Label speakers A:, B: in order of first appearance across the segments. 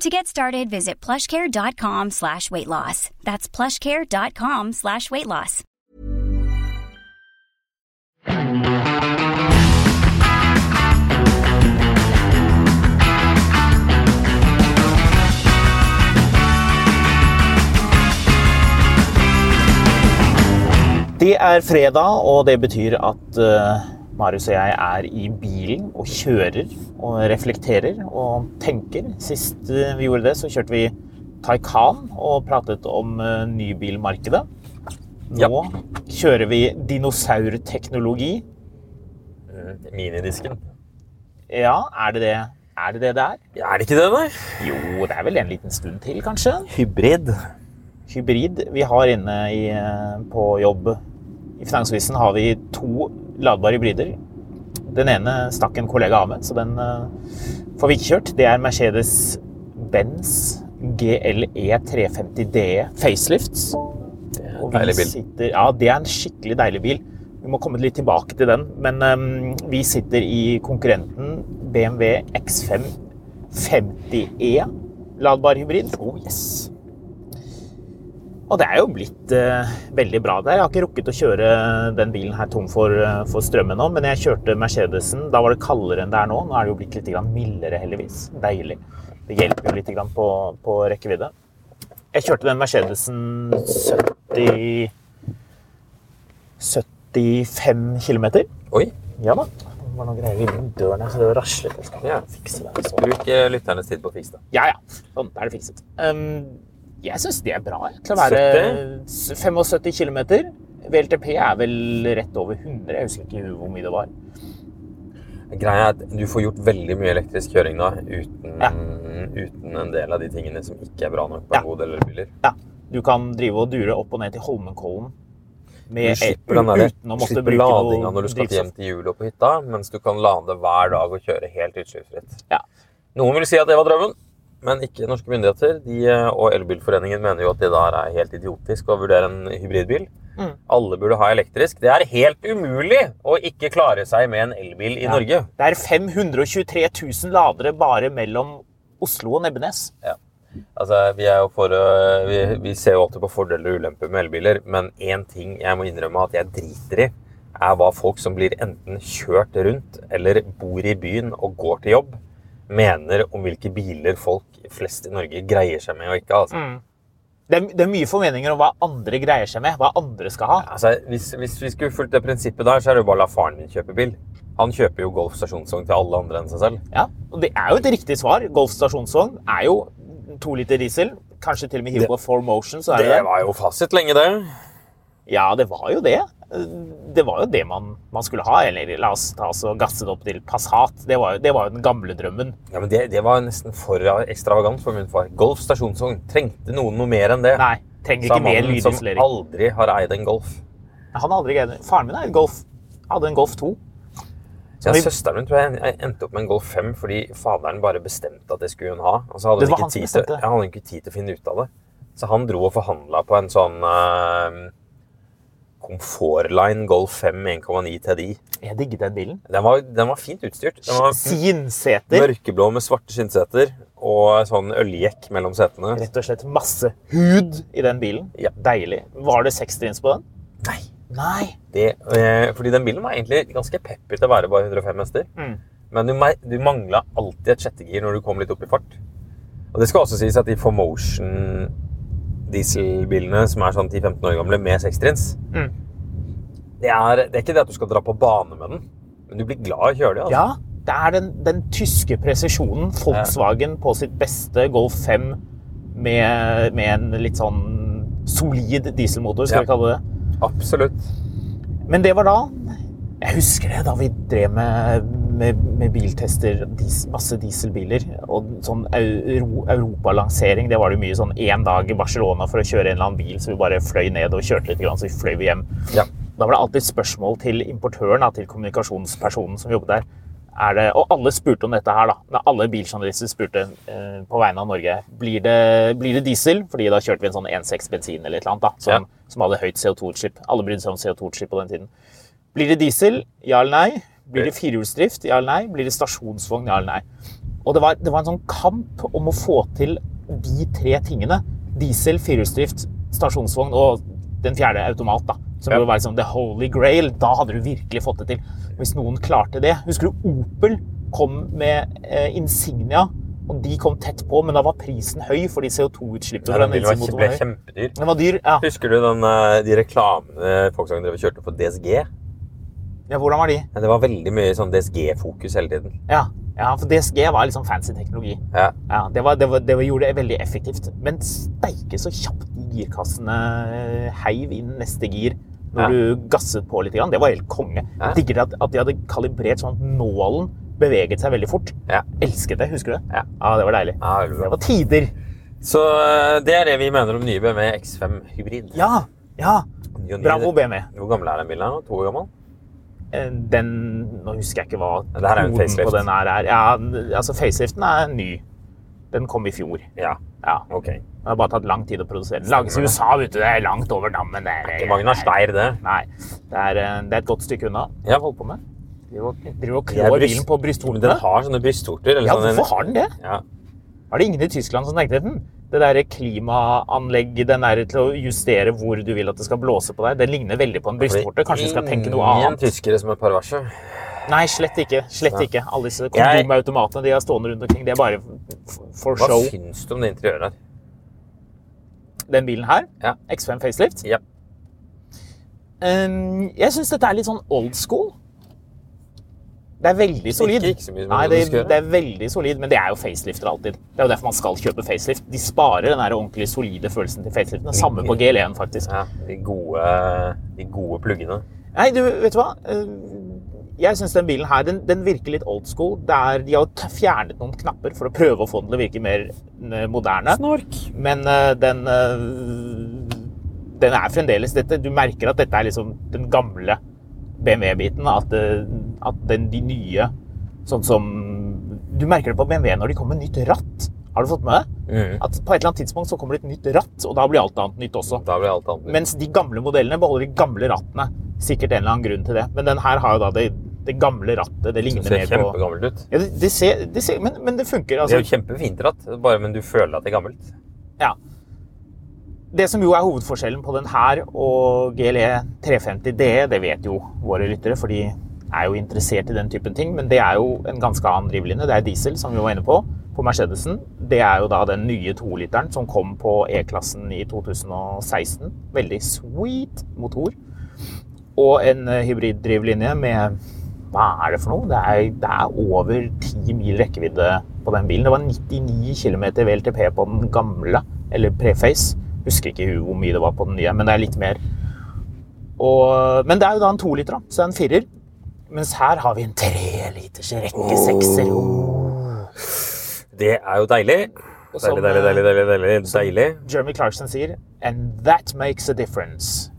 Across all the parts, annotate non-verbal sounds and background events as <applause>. A: To get started, visit plushcare.com slash weight loss. That's plushcare.com slash weight loss.
B: Det er fredag, og det betyr at eh, Marius og jeg er i bilen og kjører og reflekterer og tenker. Sist eh, vi gjorde det, så kjørte vi Taycan og pratet om eh, nybilmarkedet. Nå kjører vi dinosaurteknologi.
C: Mm, Minidisken.
B: Ja, er det det er? det det det er?
C: Er det ikke det, nei?
B: Jo, det er vel en liten stund til, kanskje.
C: Hybrid.
B: Hybrid. Vi har inne i, eh, på jobb i Finansavisen har vi to ladbare hybrider. Den ene stakk en kollega av med, så den eh, får vi ikke kjørt. Det er Mercedes-Benz GLE 350DE E facelifts. Og vi
C: Deilig bil.
B: Sitter, ja, det er en skikkelig deilig bil. Vi må komme litt tilbake til den. Men ehm, vi sitter i konkurrenten BMW X5 50E E, ladbar hybrid. Oh, yes. Og det er jo blitt eh, veldig bra der. Jeg har ikke rukket å kjøre den bilen her tom for, eh, for strømmen nå, men jeg kjørte Mercedesen. Da var det kaldere enn det er nå. Nå er det jo blitt litt grann mildere, heldigvis. Deilig. Det hjelper jo litt grann på, på rekkevidde. Jeg kjørte den Mercedesen 70 75 km.
C: Oi.
B: Ja da. Det var noen greier inni døren her, så det raslet. Jeg skal
C: Ja.
B: fikse det. Så.
C: Bruk eh, lytternes tid på å fikse det.
B: Ja, ja. Sånn, da er det fikset. Ehm, jeg syns det er bra. jeg. Til å være 75 km. VLTP er vel rett over 100. Jeg husker ikke hvor mye det var.
C: Greia er at du får gjort veldig mye elektrisk kjøring da, uten,
B: Ja.
C: uten en del av de tingene som ikke er bra nok på
B: Ja.
C: en god del elbiler.
B: Ja. Du kan drive og dure opp og ned til Holmenkollen
C: Du
B: med
C: slipper, den der,
B: uten å måtte
C: slipper
B: bruke
C: ladinga
B: noe
C: når du skal
B: drivstoff.
C: hjem til jul og på hytta, mens du kan lade hver dag og kjøre helt utslippsfritt.
B: Ja.
C: Noen vil si at det var drømmen, men ikke norske myndigheter. De eh, og Elbilforeningen mener jo at det der er helt idiotisk å vurdere en hybridbil.
B: Mm.
C: Alle burde ha elektrisk. Det er helt umulig å ikke klare seg med en elbil i
B: Ja.
C: Norge.
B: Det er 523 000 ladere bare mellom Oslo og Nebbenes.
C: Altså, vi, er jo for, øh, vi, vi ser jo alltid på fordeler og ulemper med elbiler, men én ting jeg må innrømme at jeg driter i, er hva folk som blir enten kjørt rundt eller bor i byen og går til jobb, mener om hvilke biler folk flest i Norge greier seg med og ikke. Altså.
B: Det er, det er mye formeninger om hva andre greier seg med, hva andre skal ha.
C: Altså, hvis, hvis vi skulle fulgt det prinsippet der, så er det jo bare å la faren min kjøpe bil. Han kjøper jo Golf stasjonsvogn til alle andre enn seg selv.
B: Ja, og det er jo et riktig svar. Golf stasjonsvogn er jo to liter diesel. Kanskje til og med hiver på four motion. Så er det,
C: Det
B: det.
C: var jo fasit lenge, det.
B: Ja, det var jo det. Det var jo det man, man skulle ha. Eller la oss ta oss og gasse det opp til Passat. Det var jo, det var jo den gamle drømmen.
C: Ja, men det, det var nesten for ekstravagant for min far. Golf stasjonsvogn. Trengte noen noe mer enn det?
B: Nei, trenger
C: Sa
B: ikke mer
C: mannen som
B: lydisolering.
C: aldri har eid en Golf.
B: Han har aldri greid det. Faren min er et Golf. Hadde en Golf 2.
C: Ja,
B: vi-
C: søsteren min tror jeg en- endte opp med en Golf 5 fordi faderen bare bestemte at det skulle hun ha. Og så hadde
B: Det
C: hun
B: var
C: ikke,
B: han som
C: tid til,
B: bestemte.
C: ja, hadde hun ikke tid til å finne ut av det. Så han dro og forhandla på en sånn eh, Comfortline Golf 5 1,9 TDI.
B: Jeg digget den bilen.
C: Den var, den var fint utstyrt. Den var
B: Sinseter.
C: mørkeblå med svarte skinnseter og sånn øljekk mellom setene.
B: Rett og slett masse hud i den bilen.
C: Ja.
B: Deilig. Var det sekstrins på den?
C: Nei.
B: Nei.
C: Det, eh, fordi den bilen var egentlig ganske peppig til å være bare 105 hester.
B: Mm.
C: Men du, mer- du mangla alltid et sjettegir når du kom litt opp i fart. Og det skal også sies at de Formotion dieselbilene som er sånn 10-15 år gamle, med sekstrins.
B: Mm.
C: Det, er- det er ikke det at du skal dra på bane med den, men du blir glad i å kjøre det. Altså.
B: Ja, det er den, den tyske presisjonen. Volkswagen på sitt beste Golf 5 med, med en litt sånn solid dieselmotor, skal
C: Ja.
B: vi kalle det.
C: Absolutt.
B: Men det var da Jeg husker det da vi drev med, med, med biltester, dis, masse dieselbiler. Og sånn euro, europalansering. Det var det jo mye sånn én dag i Barcelona for å kjøre en eller annen bil, så vi bare fløy ned og kjørte litt, grann, så vi fløy vi hjem.
C: Ja.
B: Da var det alltid spørsmål til importøren, da, til kommunikasjonspersonen som jobbet der. Er det, og alle spurte om dette her, da. Nei, Alle biljournalister spurte eh, på vegne av Norge. Blir det, blir det diesel? Fordi da kjørte vi en sånn 1,6 bensin eller et eller annet, da, som, som hadde høyt CO2-utslipp. Alle brydde seg om CO2-utslipp på den tiden. Blir det diesel? Ja eller nei? Blir
C: Eh.
B: det firehjulsdrift? Ja eller nei? Blir det stasjonsvogn? Ja eller nei? Og det var, det var en sånn kamp om å få til de tre tingene. Diesel, firehjulsdrift, stasjonsvogn og den fjerde automat, da. Som
C: Ja.
B: burde være liksom the holy grail. Da hadde du virkelig fått det til. Hvis noen klarte det. Husker du Opel kom med eh, Insignia, og de kom tett på, men da var prisen høy fordi CO2-utslippet
C: Ja,
B: fra
C: Den
B: den
C: bilen var kjem- ble
B: dieselmotoren var høy.
C: kjempedyr.
B: Den var dyr. Ja.
C: Husker du den, eh, de reklamene Volkswagen drev og kjørte for DSG?
B: ja, hvordan var de?
C: Ja, Det var veldig mye sånn DSG-fokus hele tiden.
B: Ja, ja for DSG var liksom fancy teknologi.
C: Ja.
B: Ja, det, var, det, var, det gjorde det veldig effektivt. Men steike så kjapt de girkassene eh, heiv inn neste gir når
C: Ja.
B: du gasset på litt. Grann. Det var helt konge.
C: Ja.
B: Jeg Digger at, at de hadde kalibrert sånn at nålen beveget seg veldig fort.
C: Ja.
B: Elsket det, husker du det?
C: Ja.
B: det var deilig.
C: Ja, veldig bra.
B: Det var tider.
C: Så eh, det er det vi mener om nye BMW X5 hybrid.
B: Ja, ja.
C: Ny og ny.
B: Bravo BMW.
C: Hvor gammel er den bilen? her nå? To år gammel?
B: Eh, Den Nå husker jeg ikke hva
C: Ja, det her er jo en
B: koden
C: facelift.
B: på den her er. Ja, altså faceliften er ny. Den kom i fjor.
C: Ja,
B: Ja.
C: ok. Det
B: Det har bare tatt lang tid å produsere. Den
C: Stemmer
B: lages i
C: det.
B: USA, vet du. Det er langt over dammen. Det er,
C: er ikke Magna Steyr, det.
B: Nei, det er, eh, det er et godt stykke unna.
C: Ja.
B: Ja. Holdt på med. Driver og- driver og
C: Det er
B: klår
C: bryst-
B: bilen på
C: Men den
B: brystvortene.
C: har sånne brystvorter. eller
B: Ja,
C: sånn en-
B: hvorfor har den det?
C: Ja.
B: Var det ingen i Tyskland som tenkte den? Det der klimaanlegget, den er til å justere hvor du vil at det skal blåse på deg. Den ligner veldig på en brystvorte. Kanskje vi skal tenke noe
C: Ingen
B: annet?
C: tyskere som er parvasje.
B: Nei, slett ikke. Slett
C: Nei.
B: ikke. Alle disse
C: Jeg-
B: kondomautomatene de har stående rundt omkring, det er bare f- for
C: Hva
B: show.
C: syns du om det interiøret her?
B: Den bilen her,
C: Ja.
B: X5 facelift,
C: Ja.
B: Um, jeg syns dette er litt sånn old school. Det er veldig solid.
C: ikke så mye som
B: Nei,
C: det
B: det,
C: du skal gjøre.
B: det er veldig solid, men det er jo facelifter alltid. Det er jo derfor man skal kjøpe facelift. De sparer den der ordentlig solide følelsen til faceliftene. Samme på GL1, faktisk.
C: Ja, de gode, de gode pluggene.
B: Nei, du, vet du hva? Uh, Jeg syns den bilen her, den, den virker litt old school. Det er, de har jo t- fjernet noen knapper for å prøve å få den til å virke mer eh, moderne.
C: Snork!
B: Men eh, den eh, Den er fremdeles dette. Du merker at dette er liksom den gamle BMW-biten. At, eh, at den, de nye Sånn som Du merker det på BMW når de kommer med nytt ratt. Har du fått med det?
C: Mm.
B: At på et eller annet tidspunkt så kommer det et nytt ratt, og da blir alt annet nytt også.
C: Da blir alt annet.
B: Mens de gamle modellene beholder de gamle rattene. Sikkert en eller annen grunn til det. Men den her har jo da det, det gamle rattet. Det
C: det
B: ligner
C: ser
B: mer på
C: kjempegammelt ut.
B: ja, det, det ser, det ser, men, men det funker.
C: Det
B: Altså,
C: er jo kjempefint ratt, bare men du føler at det er gammelt.
B: Ja. Det som jo er hovedforskjellen på den her og GLE 350 DE, det vet jo våre lyttere, for de er jo interessert i den typen ting, men det er jo en ganske annen drivlinje. Det er diesel, som vi var inne på, på Mercedesen. Det er jo da den nye 2-literen som kom på E-klassen i 2016. Veldig sweet motor. Og en eh, hybriddrivlinje med Hva er det for noe? Det er, det er over 10 mil rekkevidde på den bilen. Det var 99 km VLTP på den gamle, eller preface. Husker ikke hu- hvor mye det var på den nye, men det er litt mer. Og, men det er jo da en toliter, da, så det er en firer. Mens her har vi en treliters rekke sekser.
C: Det er jo deilig.
B: som,
C: Deilig, deilig, deilig, deilig, deilig.
B: sånn-
C: deilig.
B: Jeremy Clarkson sier And that makes a difference.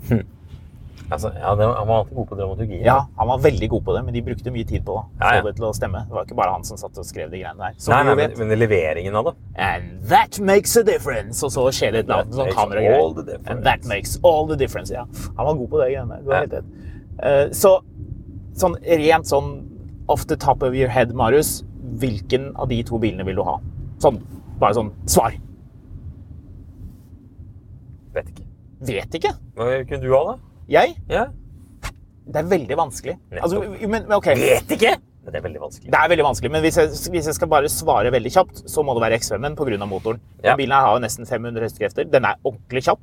C: Altså, ja, det, han var alltid god på dramaturgi.
B: Ja, han var veldig god på det, men de brukte mye tid på det.
C: Ja, ja.
B: Få det til å stemme. Det var ikke bare han som satt og skrev de greiene der. Som
C: Nei,
B: vi
C: nei,
B: jo
C: men,
B: vet.
C: men leveringen av det.
B: And that makes a difference! Og så skjer det et eller annet med sånn
C: That makes all
B: kameragreier.
C: the difference.
B: And that makes all the difference. Ja, han var god på det greiene. Du
C: Ja.
B: har helt rett. Eh, Så sånn rent sånn off the top of your head, Marius, hvilken av de to bilene vil du ha? Sånn, bare sånn svar.
C: Vet ikke.
B: Vet ikke.
C: Hva kunne du ha, da?
B: Jeg?
C: Ja.
B: Det er veldig vanskelig. Altså,
C: Nettopp.
B: men, men ok.
C: Vet ikke! Men det er veldig vanskelig.
B: Det er veldig vanskelig, men hvis jeg, hvis jeg skal bare svare veldig kjapt, så må det være X5-en pga. motoren. Den
C: Ja.
B: bilen her har jo nesten 500 hestekrefter. Den er ordentlig kjapp.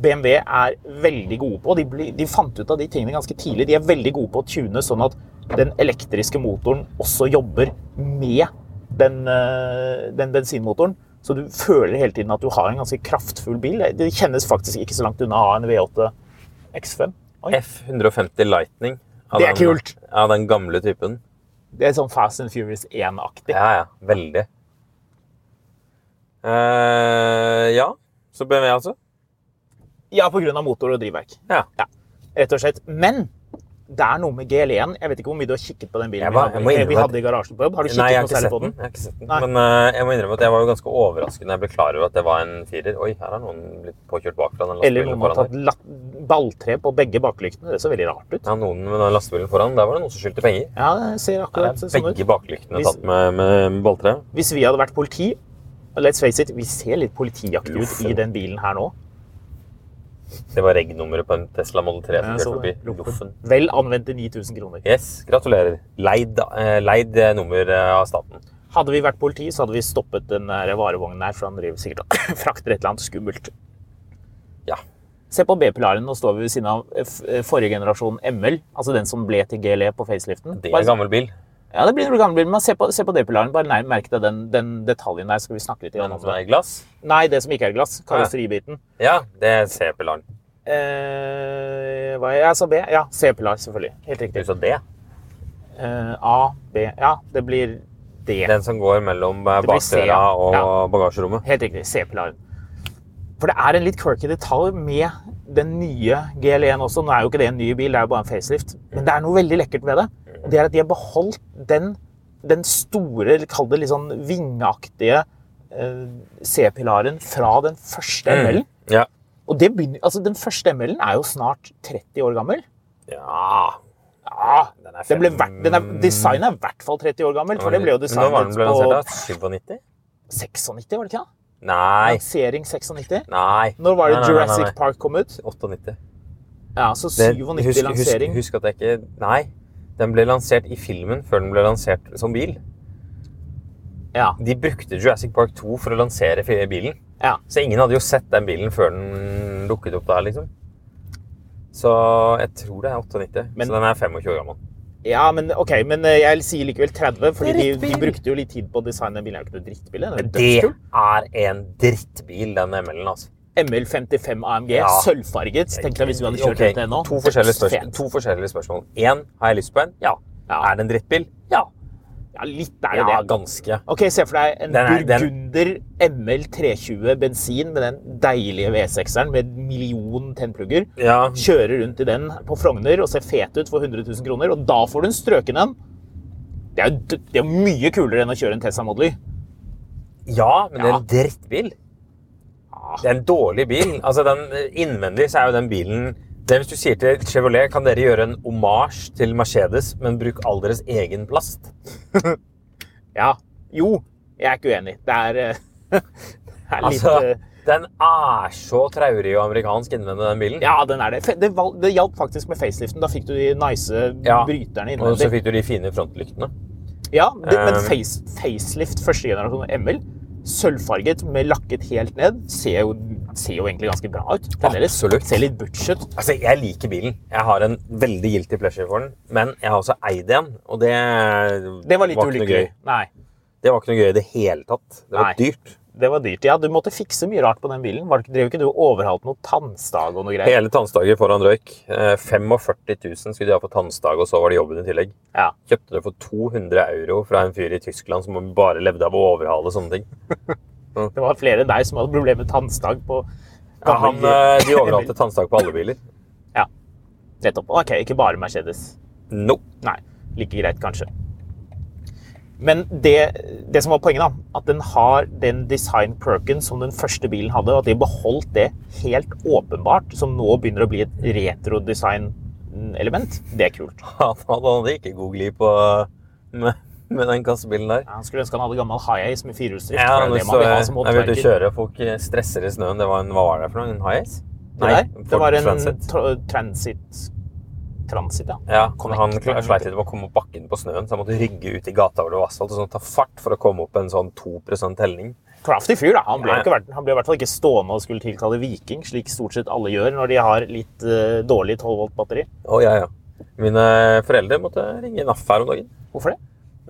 B: BMW er veldig gode på, de, blir- de fant ut av de tingene ganske tidlig, de er veldig gode på å tune sånn at den elektriske motoren også jobber med den, eh, den bensinmotoren. Så du føler hele tiden at du har en ganske kraftfull bil. Det kjennes faktisk ikke så langt unna å ha en V8 X5. Oi.
C: F150 Lightning. av
B: Det er
C: den-
B: kult.
C: Av den gamle typen.
B: Det er sånn Fast and Furious 1-aktig.
C: Ja, ja. Veldig. Eh, ja. Så BMW, altså.
B: Ja, på grunn av motor og drivverk.
C: Ja.
B: Ja, rett og slett. Men det er noe med GL1. Jeg vet ikke hvor mye du har kikket på den bilen
C: Jeg var-
B: vi,
C: jeg må
B: hadde,
C: innrømme
B: vi
C: at-
B: hadde i garasjen på jobb. Har du kikket
C: Nei, jeg har
B: noe
C: ikke
B: særlig
C: sett
B: på
C: den.
B: den?
C: Jeg har ikke sett den.
B: Nei.
C: Men eh, jeg må innrømme at jeg var jo ganske overrasket da jeg ble klar over at det var en firer. Oi, her har noen blitt påkjørt bakfra. Den
B: Eller
C: lastebilen
B: noen har
C: foran
B: tatt
C: her.
B: la- balltre på begge baklyktene. Det så veldig rart ut.
C: Ja, noen med den lastebilen foran. Der var det noen som skyldte penger.
B: Ja, det ser
C: Der
B: akkurat
C: er
B: sånn ut.
C: begge baklyktene
B: Hvis-
C: tatt med, med balltre.
B: Hvis vi hadde vært politi Let's face it, vi ser litt politiaktig ut i
C: Loffen.
B: den bilen her nå.
C: Det var reg-nummeret på en Tesla Model 3 som
B: Jeg
C: kjørte
B: så
C: forbi
B: det.
C: Loffen.
B: Vel anvendte 9000 kroner.
C: Yes, gratulerer. Leid, eh, leid eh, nummer eh, av staten.
B: Hadde vi vært politi, så hadde vi stoppet den der varevognen her, for han driver sikkert og <coughs> frakter et eller annet skummelt.
C: Ja.
B: Se på B-pilaren, nå står vi ved siden av eh, f- eh, forrige generasjon ML, altså den som ble til GLE på faceliften.
C: Det
B: Bare-
C: er gammel bil.
B: Ja, det blir en gammel bil, men se på, se på D-pilaren, bare nær- merk deg den, den detaljen der, skal vi snakke litt
C: Den
B: igjen om
C: som
B: det.
C: er i glass.
B: Nei, det som ikke er glass, karosseribiten.
C: Ja, det er C-pilaren.
B: Eh, hva er jeg sa B? Ja, C-pilar, selvfølgelig. Helt
C: Du
B: riktig.
C: sa det.
B: Eh, A, B, ja, det blir D.
C: Den som går mellom eh,
B: Det blir C,
C: bakdøra
B: ja.
C: og
B: Ja.
C: bagasjerommet.
B: Helt riktig. C-pilaren. For det er en litt quirky detalj med den nye GL1 også. Nå er jo ikke det en ny bil, det er jo bare en facelift. Men det er noe veldig lekkert ved det. Og det er at de har beholdt den, den store, eller kall det litt sånn vingeaktige eh, C-pilaren fra den første
C: Mm.
B: ML-en.
C: Ja.
B: Og det begynner, altså den første ML-en er jo snart 30 år gammel.
C: ja.
B: Ja,
C: Den er
B: den ble
C: fem-
B: vert- den er, designet er i hvert fall 30 år gammel, for det ble jo
C: Men Når var den
B: designet
C: ble
B: på
C: lansert? da? 97?
B: 96, var det ikke det?
C: Nei.
B: Lansering 96.
C: Nei.
B: Når var det
C: Nei, nei, nei,
B: Jurassic
C: nei, nei.
B: Park kom ut?
C: 98.
B: Ja, så
C: Det-
B: 97
C: husk-
B: lansering.
C: Husk, husk at jeg ikke Nei. Den ble lansert i filmen før den ble lansert som bil.
B: Ja,
C: De brukte Jurassic Park 2 for å lansere fi- bilen.
B: ja.
C: Så ingen hadde jo sett den bilen før den dukket opp der, liksom. Så jeg tror det er 98.
B: Men-
C: så den er 25 år gammel.
B: ja men, ok, men eh, jeg sier likevel 30, fordi de, de
C: Drittbil.
B: brukte jo litt tid på å designe den bilen. Det er jo ikke noe drittbil. den er jo
C: Det
B: dødskul.
C: er en drittbil, den ML-en, altså.
B: ML55 AMG,
C: Ja.
B: sølvfarget. Tenk deg hvis vi hadde kjørt
C: Ok,
B: rundt den nå.
C: To forskjellige, spørsmål.
B: Fet.
C: to forskjellige spørsmål. En, har jeg lyst på en? Ja.
B: Ja.
C: Er det en drittbil? Ja.
B: Ja, litt er det
C: Ja,
B: det.
C: ganske.
B: Ok, se for deg en
C: Den er- den-
B: Burgunder ML320 bensin med den deilige V6-eren med en million tennplugger.
C: Ja,
B: Kjøre rundt i den på Frogner og se fet ut for 100 000 kroner, og da får du en strøken en. Det er jo dø- det er jo mye kulere enn å kjøre en Tesla Model Y.
C: ja men det er
B: Ja. Ah.
C: en drittbil. Det er en dårlig bil. Altså, den, innvendig så er jo den bilen det er Hvis du sier til Chevrolet kan dere gjøre en omasj til Mercedes, men bruk all deres egen plast.
B: Ja. Jo, jeg er ikke uenig. Det er, eh, <laughs> det er litt
C: Altså,
B: eh,
C: Den er så traurig og amerikansk innvendig, den bilen.
B: Ja, den er det. Fe- Det, val- det hjalp faktisk med faceliften. Da fikk du de nice eh,
C: Ja.
B: bryterne
C: Og så
B: innvendig.
C: fikk du de fine frontlyktene.
B: Ja, det, men
C: Um.
B: face, facelift første generasjon ML, sølvfarget med lakket helt ned, ser jo, ser jo egentlig ganske bra ut. Fremdeles.
C: Absolutt.
B: Ser litt butch ut.
C: Altså, Jeg liker bilen. Jeg har en veldig guilty pleasure for den. Men jeg har også eid en, og det,
B: Det var litt
C: ikke noe
B: ulykkelig.
C: gøy.
B: Nei,
C: Det var ikke noe gøy i det hele tatt. Det var
B: Nei.
C: dyrt.
B: det var dyrt. Ja, du måtte fikse mye rart på den bilen. Var det ikke- Drev ikke du og overhalte noe tannstag og noe greier?
C: Hele tannstager foran røyk. Eh, 45 000 skulle de ha på tannstag, og så var det jobben i tillegg.
B: Ja.
C: Kjøpte det for 200 euro fra en fyr i Tyskland som bare levde av å overhale sånne ting.
B: Det var flere enn deg som hadde problemer med tannstag på
C: Ja, han, eh, de
B: <laughs>
C: overhalte tannstag på alle biler.
B: Ja, nettopp. Ok, ikke bare Mercedes.
C: No.
B: Nei, like greit kanskje. Men det, det som var poenget, da, at den har den design perken som den første bilen hadde, og at de beholdt det helt åpenbart, som nå begynner å bli et retro-design-element, det er kult.
C: <laughs> Han hadde ikke god glid på eh, med, med den kassebilen der.
B: Jeg skulle ønske han hadde gammel high-ace med firehjulsdrift.
C: Ja,
B: for
C: nå
B: det er det man
C: så
B: vil ha
C: jeg,
B: som
C: jeg vet du
B: håndverker.
C: kjører, folk stresser i snøen. Det var en, hva var det for noe? En high-ace?
B: Det der,
C: Ford
B: det var en
C: Transit.
B: tra- eh, transit Transit, ja.
C: Ja, han kla- sleit litt med å komme opp bakken på snøen, så han måtte rygge ut i gata hvor det var asfalt, og sånn ta fart for å komme opp en sånn 2 helning.
B: Crafty fyr, da. Han ble,
C: Ja, ja.
B: jo ikke, verdt- han ble i hvert fall ikke stående og skulle tilkalle viking, slik stort sett alle gjør når de har litt eh, dårlig 12 volt batteri.
C: Å, ja, ja. Mine foreldre måtte ringe NAF her om dagen.
B: Hvorfor det?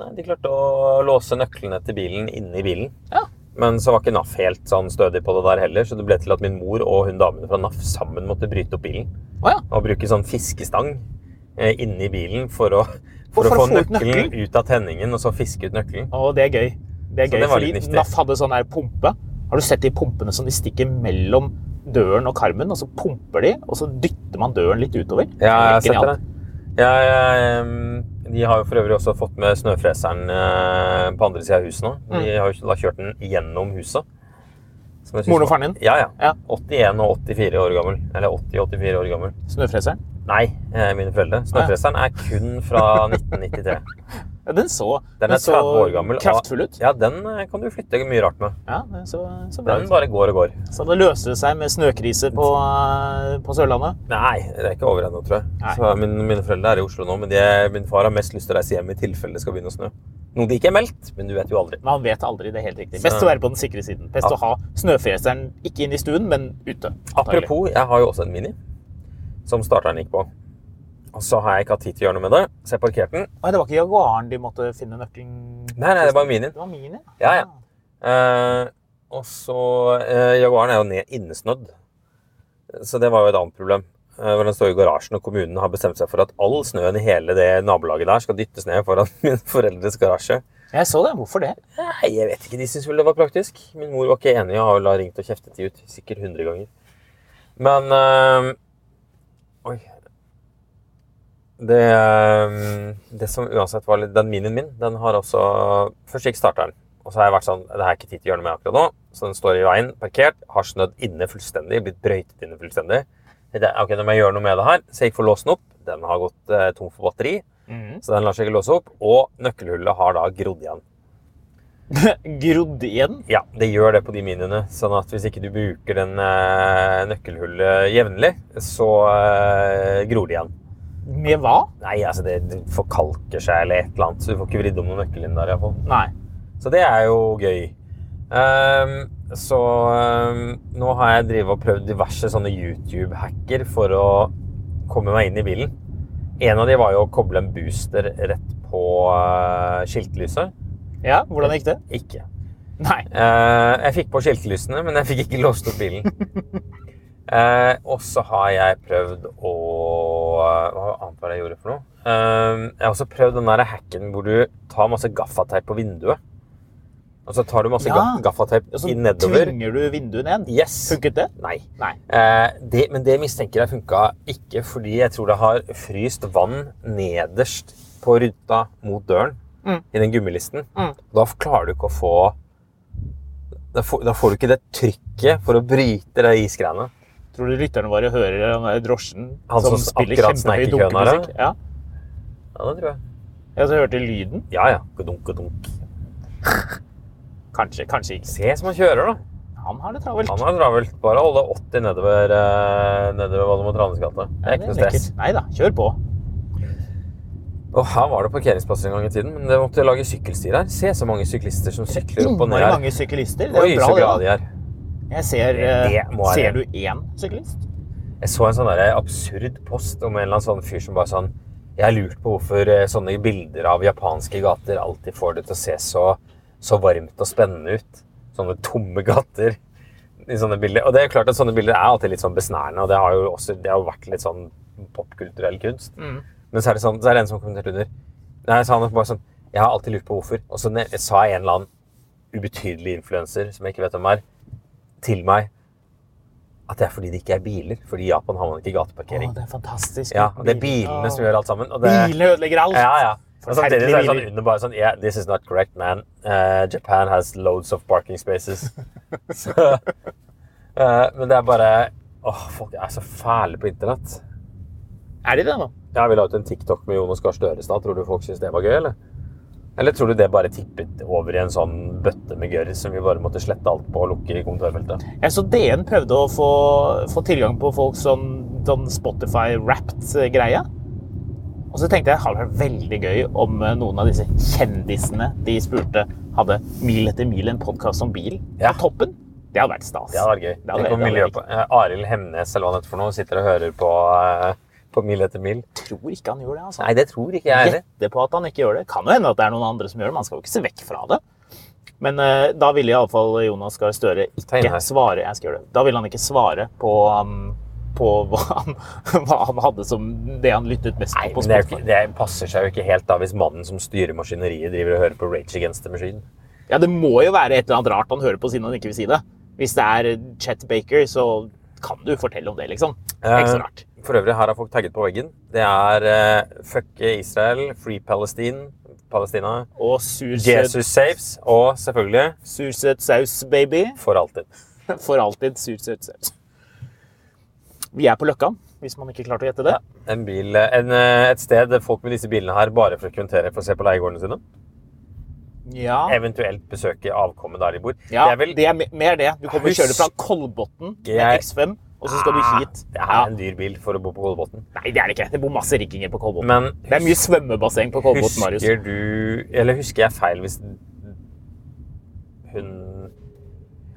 C: Nei, de klarte å låse nøklene til bilen inni bilen.
B: Ja.
C: Men så var ikke NAF helt sånn stødig på det der heller, så det ble til at min mor og hun damen fra NAF sammen måtte bryte opp bilen.
B: Å ja.
C: Og bruke sånn fiskestang eh, inni bilen for å,
B: For
C: for
B: å
C: å få
B: få ut
C: nøkkelen ut av tenningen, og så fiske ut nøkkelen.
B: Og det er gøy. Det er
C: Så
B: gøy,
C: det var litt
B: fordi
C: nifty.
B: NAF hadde sånn her pumpe. Har du sett de pumpene som de stikker mellom døren og karmen, og så pumper de, og så dytter man døren litt utover?
C: Ja, jeg har
B: Det er
C: sett det.
B: genialt.
C: Ja, jeg, ehm, de har jo for øvrig også fått med snøfreseren eh, på andre sida av huset nå. De
B: Mm.
C: har jo ikke- da kjørt den gjennom huset. Som jeg synes
B: Moren og
C: var-
B: faren din?
C: Ja, ja.
B: Ja.
C: 81 og 84 år gammel. Eller 80-84 år gammel.
B: Snøfreseren.
C: Nei, eh, mine foreldre. Snøfreseren er kun fra
B: <laughs>
C: 1993.
B: Ja, den så,
C: Den er 30 år gammel. og-
B: kraftfull ut.
C: Ja, den eh, kan du flytte mye rart med.
B: Ja, den så, så bra
C: Den
B: ut.
C: bare går og går.
B: Så det løste seg med snøkrise på, på Sørlandet.
C: Nei, det er ikke over ennå, tror jeg.
B: Nei.
C: Så min, mine foreldre er i Oslo nå, men de, min far har mest lyst til å reise hjem i tilfelle det skal begynne å snø. Noe de ikke er meldt, men du vet jo aldri.
B: Men han vet aldri det er helt riktig.
C: Så-
B: Best å være på den sikre siden. Best
C: Ja.
B: å ha snøfreseren ikke inn i stuen, men ute. antagelig.
C: Apropos, jeg har jo også en Mini, som starteren gikk på. Og så har jeg ikke hatt tid til å gjøre noe med det, så jeg parkerte den.
B: Nei, det var ikke Jaguaren de måtte finne nøkkelen
C: Nei, nei, det var Minien.
B: Det var Ah. Mini?
C: Ja, ja. Eh, og så eh, Jaguaren er jo ned innesnødd, så det var jo et annet problem. Eh, hvor den står i garasjen, og kommunen har bestemt seg for at all snøen i hele det nabolaget der skal dyttes ned foran <laughs> mine foreldres garasje.
B: Jeg så det. Hvorfor det? <laughs>
C: Nei, jeg vet ikke. De syntes vel det var praktisk. Min mor var ikke enig og har vel da ringt og kjeftet de ut sikkert 100 ganger. Men øhm, Oi. Det, øhm, det som uansett var litt Den minien min, den har også Først gikk starteren. Og så har jeg vært sånn Det her er ikke tid til å gjøre noe med akkurat nå. Så den står i veien, parkert, har snødd inne fullstendig, blitt brøytet inne fullstendig. Det, ok, nå må jeg gjøre noe med det her. Så jeg gikk for låsen opp. Den har gått eh, tom for batteri, så den lar seg ikke låse opp. Og nøkkelhullet har da grodd igjen.
B: Grodd igjen?
C: Ja, det gjør det på de miniene. Sånn at hvis ikke du bruker den eh, nøkkelhullet jevnlig, så eh, gror det igjen.
B: Med hva?
C: Nei, altså det, det forkalker seg eller et eller annet, så du får ikke vridd om noen nøkkel inn der iallfall.
B: Nei.
C: Så det er jo gøy. Ehm, så ehm, nå har jeg drivet og prøvd diverse sånne YouTube-hacker for å komme meg inn i bilen. En av de var jo å koble en booster rett på eh, skiltlyset.
B: Ja, Hvordan gikk det?
C: Ikke.
B: Nei.
C: Eh, jeg fikk på skiltelysene, men jeg fikk ikke låst
B: <laughs>
C: opp bilen. Eh, og så har jeg prøvd å Hva annet var det jeg gjorde for noe? Eh, jeg har også prøvd den der hacken hvor du tar masse gaffateip på vinduet. Og så tar du masse
B: Ja.
C: ga- gaffateip
B: Og så
C: inn nedover.
B: Altså, tvinger du vinduet ned.
C: Yes.
B: Funket det?
C: Nei.
B: Nei.
C: Eh, det, men det mistenker jeg funka ikke, fordi jeg tror det har fryst vann nederst på ruta mot døren
B: Mm.
C: i den gummilisten.
B: Mm.
C: Da f- klarer du ikke å få da får, da får du ikke det trykket for å bryte det isgreiene.
B: Tror du lytterne våre hører den der drosjen
C: Han som akkurat sneik i køen her,
B: dunkemusikk? Ja.
C: Ja, det tror jeg.
B: ja, så hørte de lyden.
C: Ja, ja. Godunk, godunk.
B: Kanskje, kanskje ikke.
C: Se som han kjører, da.
B: Han har det travelt.
C: Han har travelt. Bare holde 80 nedover, eh, nedover Valdemar Tranes gate. Det er ikke noe stress.
B: Nei da, kjør på.
C: Og her var det parkeringsplasser en gang i tiden, men det måtte lage sykkelstier her. Se så mange syklister som sykler opp og ned
B: Innmari
C: her.
B: mange syklister. Det er
C: Oi,
B: jo
C: så
B: bra,
C: glad
B: det.
C: de er.
B: da. Jeg ser,
C: Det
B: eh,
C: må være-
B: ser du én syklist?
C: Jeg så en sånn der absurd post om en eller annen sånn fyr som bare sånn Jeg har lurt på hvorfor eh, sånne bilder av japanske gater alltid får det til å se så, så varmt og spennende ut. Sånne tomme gater i sånne bilder. Og det er klart at sånne bilder er alltid litt sånn besnærende, og det har jo også det har jo vært litt sånn popkulturell kunst. Men så er det sånn, så er det en som kommenterte under Nei, så han er bare sånn Jeg har alltid lurt på hvorfor. Og så ne- sa en eller annen ubetydelig influenser som jeg ikke vet hvem er, til meg at det er fordi det ikke er biler. Fordi i Japan har man ikke
B: Å,
C: gateparkering.
B: det er fantastisk.
C: ja, og det
B: Åh.
C: er bilene som gjør alt sammen. Og det,
B: Bilene ødelegger alt.
C: Ja, ja. Og samtidig så er det sånn
B: Forferdelige biler.
C: under bare sånn Yeah, this is not correct, man. Eh, Japan has loads of parking <laughs> spaces. så, eh, men det er bare Åh, folk er så fæle på internett.
B: Er de det, da?
C: Ja, vi la ut en TikTok med Jonas Gahr Støre i stad. Tror du folk syntes det var gøy, eller? Eller tror du det bare tippet over i en sånn bøtte med gørr som vi bare måtte slette alt på og lukke i kommentarfeltet?
B: Jeg så DN prøvde å få, få tilgang på folk sånn, sånn Spotify-wrapped-greie. Og så tenkte jeg det hadde vært veldig gøy om eh, noen av disse kjendisene de spurte, hadde mil etter mil en podkast om bil
C: Ja.
B: på toppen. Det hadde vært stas.
C: Det hadde vært gøy.
B: Det hadde
C: Tenk om
B: vært- det hadde
C: miljø på, eh, Arild Hemnes eller hva han heter for noe, sitter og hører på, eh, på Mil etter mil.
B: vært- Jeg tror ikke han gjør det. altså.
C: Nei, det tror ikke jeg heller.
B: gjette på at han ikke gjør det. Kan jo hende at det er noen andre som gjør det, man skal jo ikke se vekk fra det. Men eh, da ville iallfall Jonas Gahr Støre
C: Tegn
B: ikke
C: her.
B: svare jeg skal gjøre det. Da ville han ikke svare på, um, på hva, han, <laughs> hva han hadde som det han lyttet mest
C: Nei,
B: på.
C: men det, er jo
B: Spotify.
C: ikke- det passer seg jo ikke helt da hvis mannen som styrer maskineriet, driver og hører på Rage Against the Machine.
B: Ja, det må jo være et eller annet rart han hører på siden han ikke vil si det. Hvis det er Chet Baker, så kan du fortelle om det, liksom. Det er ikke så
C: Eh,
B: rart.
C: For øvrig, her har folk tagget på veggen. Det er eh, fuck Israel, free Palestine, Palestina,
B: Og sursøt,
C: Jesus saves, og selvfølgelig
B: sursøt saus, baby. <laughs>
C: for alltid.
B: For alltid sursøt saus. Vi er på Løkka, hvis man ikke klarte å gjette det.
C: En bil, en, eh, et sted folk med disse bilene her bare frekventerer for å se på leiegårdene sine.
B: Ja.
C: Eventuelt besøke avkommet der de bor.
B: Ja,
C: det er vel
B: me- mer det. Du kommer og kjører fra
C: Husk-
B: Kolbotn med
C: Jeg-
B: X5, og så skal du hit.
C: Ah. Det er
B: Ja.
C: en dyr bil for å bo på Kolbotn.
B: Ah, Nei, det er det ikke. Det bor masse rikinger på Kolbotn.
C: Men
B: Det er mye svømmebasseng på Kolbotn, Marius.
C: husker du Eller husker jeg feil hvis hun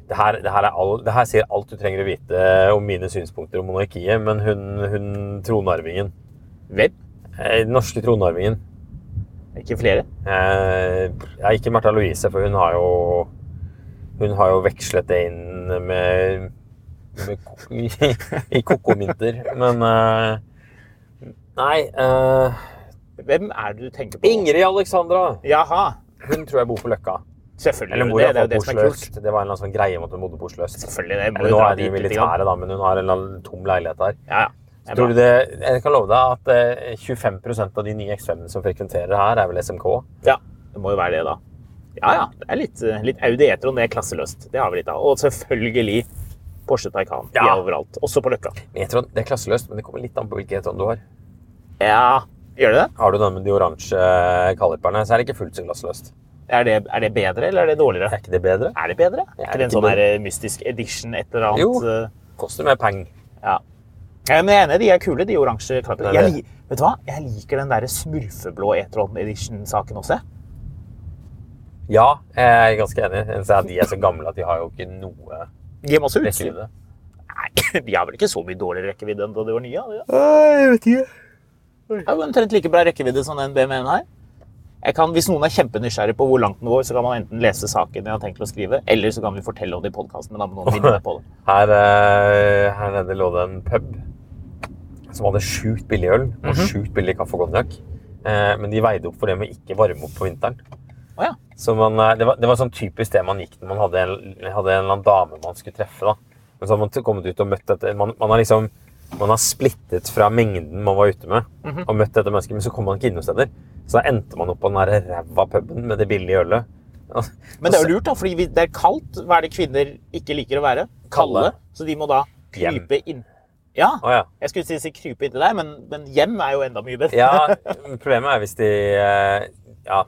C: det her, det, her er all, det her sier alt du trenger å vite om mine synspunkter om monarkiet, men hun, hun tronarvingen
B: Vel,
C: eh, Den norske tronarvingen
B: ikke flere.
C: eh, ja, Ikke Märtha Louise, for hun har jo Hun har jo vekslet det inn med, med ko- <laughs> i, i kokominter, men eh, Nei. Eh,
B: Hvem er det du tenker på?
C: Ingrid Alexandra!
B: Jaha.
C: Hun tror jeg bor på Løkka.
B: Selvfølgelig.
C: Eller
B: gjør
C: bor
B: det,
C: i hvert
B: det er jo det
C: fall på
B: som er kult.
C: Sløst. Det var en eller annen sånn greie om at hun bodde på Oslo øst.
B: Selvfølgelig, det må
C: Eller
B: jo
C: nå
B: dra
C: er de
B: dit litt. grann.
C: militære, da, men hun har en eller annen tom leilighet der.
B: Ja, ja. Det er
C: Tror du
B: bra.
C: det, jeg kan love deg at eh, 25 av de nye X5-ene som frekventerer her, er vel SMK?
B: Ja, det må jo være det, da. Ja, ja. Det er litt, eh, litt Audi e-tron, det er klasseløst. Det har vi litt av. Og selvfølgelig Porsche Taycan. De
C: Ja.
B: er overalt. Også på Løkka.
C: Men E-tron, det er klasseløst, men det kommer litt an på hvilken E-tron du har.
B: Ja, gjør det det?
C: Har du den med de oransje kaliperne, så er det ikke fullt så klasseløst.
B: Er det? Er det bedre, eller er det dårligere?
C: Er ikke det bedre?
B: Er det bedre?
C: Ja,
B: Er ikke det en
C: ikke
B: sånn
C: dum.
B: her eh, mystisk edition, et eller annet?
C: Jo.
B: eh,
C: Koster mer penger.
B: Ja. Ja, men jeg er enig, de er kule, de oransje klappene.
C: Det
B: Jeg,
C: er det.
B: li- vet du hva? Jeg liker den der smurfeblå E-tron edition-saken også. jeg.
C: Ja, jeg er ganske enig. Eneste er at de er så gamle at de har jo ikke noe
B: De har masse utstyr.
C: rekkevidde.
B: Nei, <laughs> de har vel ikke så mye dårligere rekkevidde enn da de var nye? har de det?
C: Jeg vet ikke.
B: Det er jo omtrent like bra rekkevidde som den BMW-en her. Jeg kan, hvis noen er kjempenysgjerrig på hvor langt den går, så kan man enten lese saken jeg har tenkt å skrive, eller så kan vi fortelle om det i podkasten, men da må noen vinne meg på det.
C: Her, eh, her nede lå det en pub som hadde sjukt billig øl og
B: Mhm.
C: sjukt billig kaffe og konjakk. Eh, men de veide opp for det med ikke varme opp på vinteren.
B: Å ja.
C: Så man, eh, det, var, det var sånn typisk det man gikk når man hadde en, hadde en eller annen dame man skulle treffe. Da. Men så hadde man t- kommet ut og møtt dette. Man, man har liksom man har splittet fra mengden man var ute med,
B: Mhm.
C: og møtt dette mennesket, men så kom man ikke innom steder. Så da endte man opp på den der ræva puben med det billige ølet.
B: Men det
C: Altså-
B: er jo lurt, da, fordi vi- det er kaldt. Hva er det kvinner ikke liker å være?
C: Kalde.
B: Kalde. Så de må da
C: Hjem.
B: krype inn. Ja,
C: Å ja.
B: Jeg skulle si, si krype inntil deg, men, men hjem er jo enda mye bedre. <laughs>
C: <laughs> Ja, problemet er hvis de eh, Ja,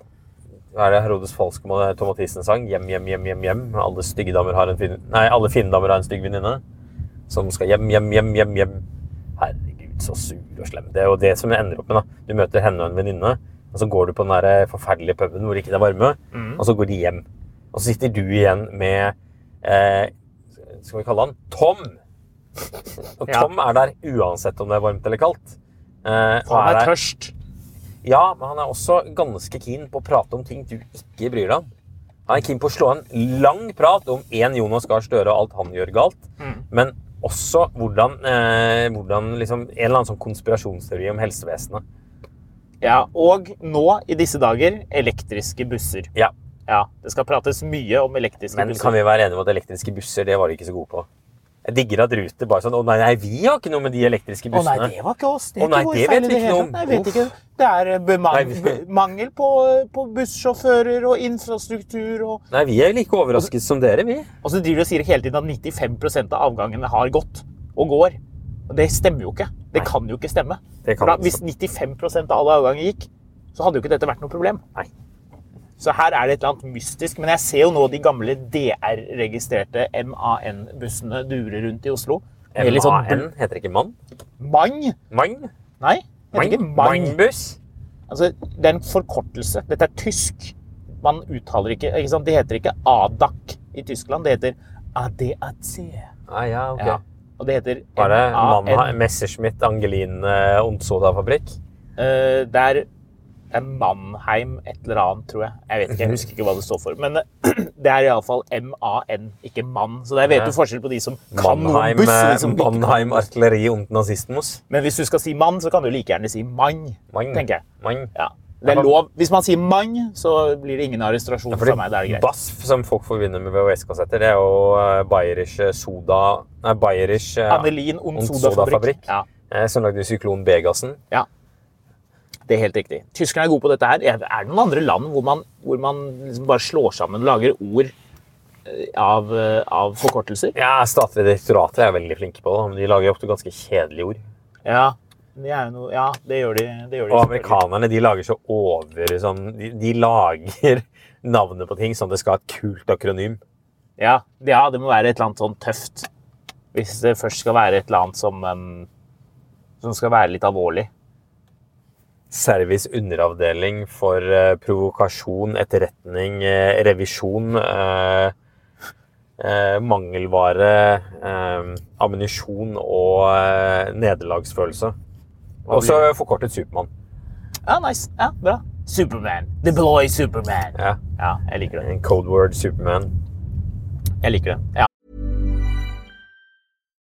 C: hva er det Herodes Falsk og Tom Mathisen sang? Hjem, hjem, hjem, hjem, hjem. Alle stygge damer har en fin... Nei, alle fine damer har en stygg venninne. Som skal hjem, hjem, hjem, hjem, hjem. Herregud, så sur og slem. Det er jo det som ender opp med, da. Du møter henne og en venninne, og så går du på den der eh, forferdelige puben hvor det ikke er varme,
B: Mm.
C: og så går de hjem. Og så sitter du igjen med eh, Skal vi kalle han Tom? Og
B: Ja.
C: Tom er der uansett om det er varmt eller kaldt. Eh, og
B: Han
C: er
B: er
C: der-
B: tørst.
C: ja, men han er også ganske keen på å prate om ting du ikke bryr deg om. Han er keen på å slå en lang prat om én Jonas Gahr Støre og alt han gjør galt,
B: Mm.
C: men også hvordan, eh, hvordan liksom, En eller annen sånn konspirasjonsteori om helsevesenet.
B: Ja, og nå i disse dager elektriske busser.
C: Ja,
B: Ja, Det skal prates mye om elektriske
C: Men kan
B: busser.
C: vi være enige om at elektriske busser det var de ikke så gode på? Jeg digger at Ruter bare sånn Å nei, nei, vi har ikke noe med de elektriske
B: Å nei,
C: bussene.
B: det var ikke oss. Det er
C: Å nei,
B: ikke vår
C: det
B: feil
C: vet
B: i
C: vi ikke
B: hele
C: noe
B: tatt.
C: om.
B: Nei, jeg vet ikke. Det er eh, beman
C: Nei,
B: be- mangel på, eh, på bussjåfører og infrastruktur og
C: nei, vi er jo like overrasket som dere, vi.
B: Og så driver de og sier hele tiden at 95 av avgangene har gått og går. Og det stemmer jo ikke. Det
C: Nei.
B: kan jo ikke stemme.
C: Det kan
B: For da,
C: ikke
B: hvis 95 av alle avganger gikk, så hadde jo ikke dette vært noe problem.
C: Nei.
B: Så her er det et eller annet mystisk. Men jeg ser jo nå de gamle DR-registrerte MAN-bussene dure rundt i Oslo. Med litt sånn
C: MAN heter ikke mann.
B: bl- mang.
C: Mang?
B: Nei, heter ikke Mang.
C: Mang-buss?
B: Altså, det er en forkortelse. Dette er tysk. Man uttaler ikke, ikke sant? Det heter ikke ADAC i Tyskland, det heter ADAC.
C: Ah, ja, ok.
B: Ja. Og det heter
C: Var det
B: MAN?
C: Mannheim, Messerschmitt, Angelin, eh, Ondsoda-fabrikk?
B: Eh, det er det er Mannheim et eller annet, tror jeg. Jeg vet ikke, jeg husker ikke hva det står for. Men <clears throat> eh, det er iallfall MAN, ikke mann. Så der vet
C: Ja.
B: du forskjell på de som kan noe
C: Mannheim,
B: buss. og de
C: eh,
B: som ikke kan
C: Mannheim
B: buss.
C: artilleri und nazismus?
B: Men hvis du skal si mann, så kan du like gjerne si mann,
C: Mang.
B: tenker jeg.
C: Mang.
B: Ja. Det er lov. Hvis man sier mann, så blir det ingen arrestasjon
C: Ja,
B: fra meg. Da er
C: fordi
B: det greit.
C: BASF, som folk forbinder med VHS-kassetter, det er jo eh, Bayerisch eh, Soda Nei, Bayerisch eh,
B: Annelin
C: und
B: Ondsoda-fabrikk. Ja.
C: eh, Som lagde Syklon B-gassen.
B: ja. Det er helt riktig. Tyskerne er gode på dette her. Er er det noen andre land hvor man, hvor man liksom bare slår sammen og lager ord eh, av, eh, av forkortelser?
C: Ja, Statlige direktorater er veldig flinke på det, men de lager ofte ganske kjedelige ord.
B: Ja, det, er jo noe, ja, det gjør de. Det gjør de
C: Og
B: selvfølgelig.
C: amerikanerne de lager så over sånn, de, de lager <laughs> navnet på ting sånn at det skal ha et kult akronym.
B: Ja, ja, det må være et eller annet sånn tøft. Hvis det først skal være et eller annet som, em, som skal være litt alvorlig.
C: Service underavdeling for eh, provokasjon, etterretning, eh, revisjon, eh, eh, mangelvare, eh, ammunisjon og eh, nederlagsfølelse. Også forkortet Supermann.
B: Ja, nice. Ja, bra. Superman. Deploy Superman.
C: Ja.
B: Ja, jeg liker det.
C: En code word Superman.
B: Jeg liker det. Ja.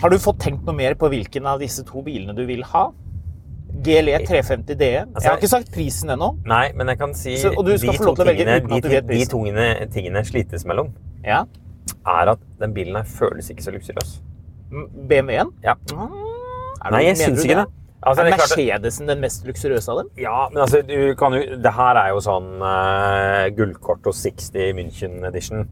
B: Har du fått tenkt noe mer på hvilken av disse to bilene du vil ha? E GLE 350 DE.
C: Altså,
B: Jeg har ikke sagt prisen ennå.
C: Nei, men jeg kan si
B: Så- og du skal
C: de
B: få lov til
C: to
B: å velge
C: tingene,
B: uten at du
C: de,
B: vet
C: de
B: prisen.
C: tingene, tingene slites mellom,
B: Ja.
C: er at den bilen her føles ikke så luksuriøs.
B: BMW-en?
C: Ja.
B: Mm. Er
C: Nei, jeg
B: mener
C: syns
B: du
C: ikke det. Altså,
B: Er
C: det er klart,
B: Mercedesen den mest luksuriøse av dem?
C: ja, men altså, du kan jo, det her er jo sånn eh, gullkort og 60 München edition.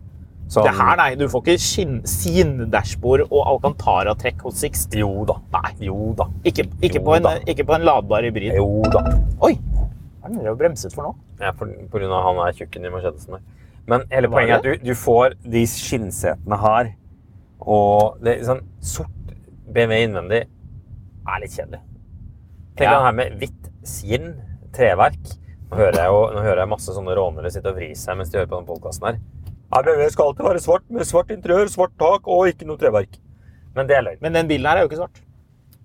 C: Sånn-
B: Det her, nei. Du får ikke skinn- skin-dashbord og Alcantara-trekk hos Sixt.
C: Jo da. Nei. Jo da.
B: Ikke, ikke,
C: Jo
B: på en,
C: da.
B: ikke på en ladbar hybrid.
C: Jo da.
B: Oi! Hva er det dere har bremset for nå?
C: Ja, for, på grunn av han er tjukken i Mercedesen der. Men hele
B: Var
C: poenget er
B: det?
C: at du, du får de skinnsetene her, og det er sånn sort BMW innvendig er litt kjedelig. Tenk deg
B: Ja.
C: det her med hvitt skinn, treverk. Nå hører jeg, jo, nå hører jeg masse sånne rånere sitte og vri seg mens de hører på den podkasten her. Ja, BMW skal alltid være svart, med svart interiør, svart tak og ikke noe treverk. Men det er løgn.
B: Men den bilen her er jo ikke svart.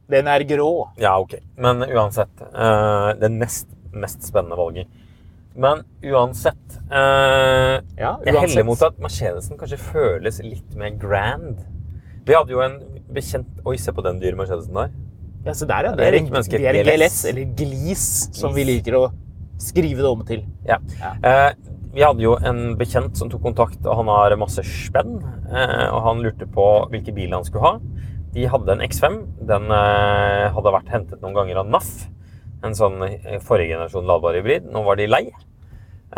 B: Den er grå.
C: Ja, ok. Men uansett eh, Det nest mest spennende valget. Men uansett eh,
B: Ja,
C: Jeg
B: uansett.
C: heller mot at Mercedesen kanskje føles litt mer grand. Vi hadde jo en bekjent Oi, se på den dyre Mercedesen der.
B: Ja, se der, ja.
C: Det
B: Det
C: er
B: er
C: riktig
B: en,
C: menneske.
B: det er en GLS,
C: GLS.
B: eller GLIS, som vi
C: Glis.
B: liker å skrive det om til.
C: Ja.
B: Ja.
C: Eh, vi hadde jo en bekjent som tok kontakt, og han har masse spenn. Eh, og han lurte på hvilke biler han skulle ha. De hadde en X5. Den eh, hadde vært hentet noen ganger av NAF. En sånn eh, forrige generasjon ladbar hybrid. Nå var de lei.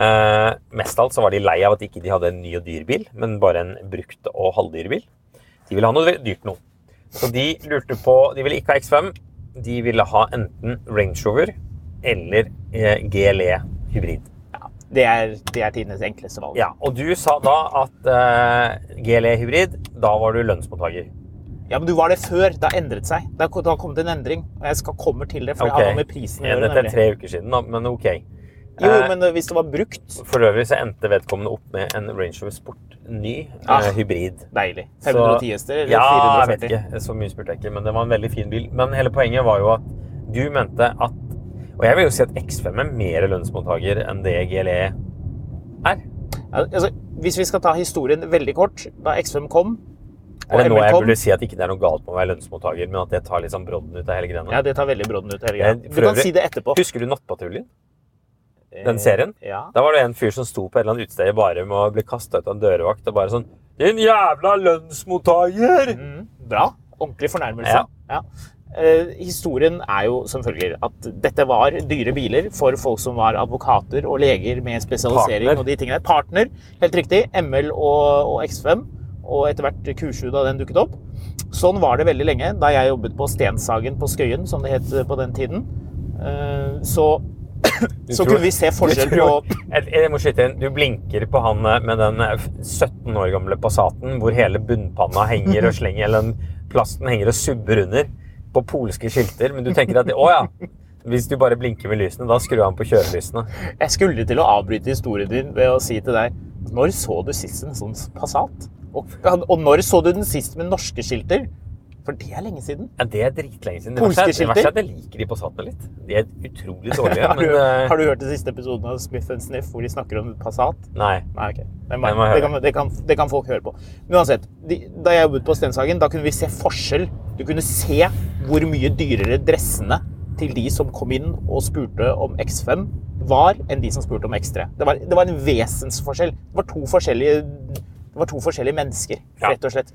C: Eh, mest av alt så var de lei av at ikke de hadde en ny og dyr bil, men bare en brukt og halvdyr bil. De ville ha noe dyrt nå. Så de lurte på De ville ikke ha X5. De ville ha enten Range Rover eller eh, GLE hybrid.
B: Det er, det er tidenes enkleste valg.
C: E Ja, og du sa da at eh, GLE hybrid, da var du lønnsmottaker.
B: Ja, men du var det før. Det har endret seg. Det har det har kommet en endring. Og jeg skal kommer til det, for
C: Ok.
B: det har noe med prisen å
C: Ja,
B: gjøre.
C: Dette er
B: nemlig.
C: tre uker siden, da, men ok.
B: Jo,
C: Eh,
B: men hvis det var brukt
C: For øvrig så endte vedkommende opp med en Range Rover Sport ny eh,
B: Ah.
C: hybrid.
B: Deilig.
C: Så-
B: 510 hester eller
C: Ja, jeg vet
B: 440?
C: ikke. Så mye spurte jeg ikke, men det var en veldig fin bil. Men hele poenget var jo at du mente at Og jeg vil jo si at X5 er mer lønnsmottaker enn det GLE er.
B: Ja, altså, hvis vi skal ta historien veldig kort Da X5 kom og
C: Er det nå
B: ML
C: jeg
B: kom-
C: burde si at ikke det er noe galt med å være lønnsmottaker, men at det tar litt sånn brodden ut av hele greia?
B: Ja, det tar veldig brodden ut. hele
C: Jeg-
B: greia.
C: for
B: Du kan
C: øvrig-
B: si det etterpå.
C: Husker du Nattpatruljen? den
B: Eh,
C: serien?
B: Ja.
C: Da var det en fyr som sto på et eller annet utested i Barum og ble kasta ut av en dørvakt og bare sånn Din jævla lønnsmottaker!
B: Mm, bra. Ordentlig fornærmelse.
C: Ja.
B: Ja. Eh, historien er jo som følger at dette var dyre biler for folk som var advokater og leger med spesialisering
C: Partner.
B: og de tingene der. Partner, helt riktig. ML og, og X5. Og etter hvert Q7 da den dukket opp. Sånn var det veldig lenge da jeg jobbet på Stenshagen på Skøyen, som det het på den tiden. Eh, så <clears throat>
C: Du
B: så
C: tror-
B: kunne vi se forskjell
C: du tror-
B: på
C: <laughs> Jeg, jeg må skyte inn. Du blinker på han eh, med den eh, 17 år gamle Passaten hvor hele bunnpanna henger og slenger, eller den plasten henger og subber under på polske skilter, men du tenker at Å ja. Hvis du bare blinker med lysene, da skrur han på kjørelysene.
B: Jeg skulle til å avbryte historien din ved å si til deg Når så du sist en sånn Passat? Og, og når så du den sist med norske skilter? For det er lenge siden.
C: Ja, det er dritlenge siden. Det
B: Polske
C: verste er- Det
B: skilter?
C: verste er at jeg liker de Passatene litt. De er utrolig
B: <laughs>
C: dårlige,
B: har,
C: men
B: du,
C: eh,
B: har du hørt den siste episoden av Smith Sniff hvor de snakker om Passat?
C: Nei.
B: Nei, ok. Det,
C: Den må jeg
B: det, kan, det, kan, det kan folk høre på. Men uansett, de, da jeg jobbet på Stenshagen, da kunne vi se forskjell. Du kunne se hvor mye dyrere dressene til de som kom inn og spurte om X5 var, enn de som spurte om X3. Det var, det var en vesensforskjell. Det var to forskjellige, det var to forskjellige mennesker,
C: Ja.
B: rett og slett.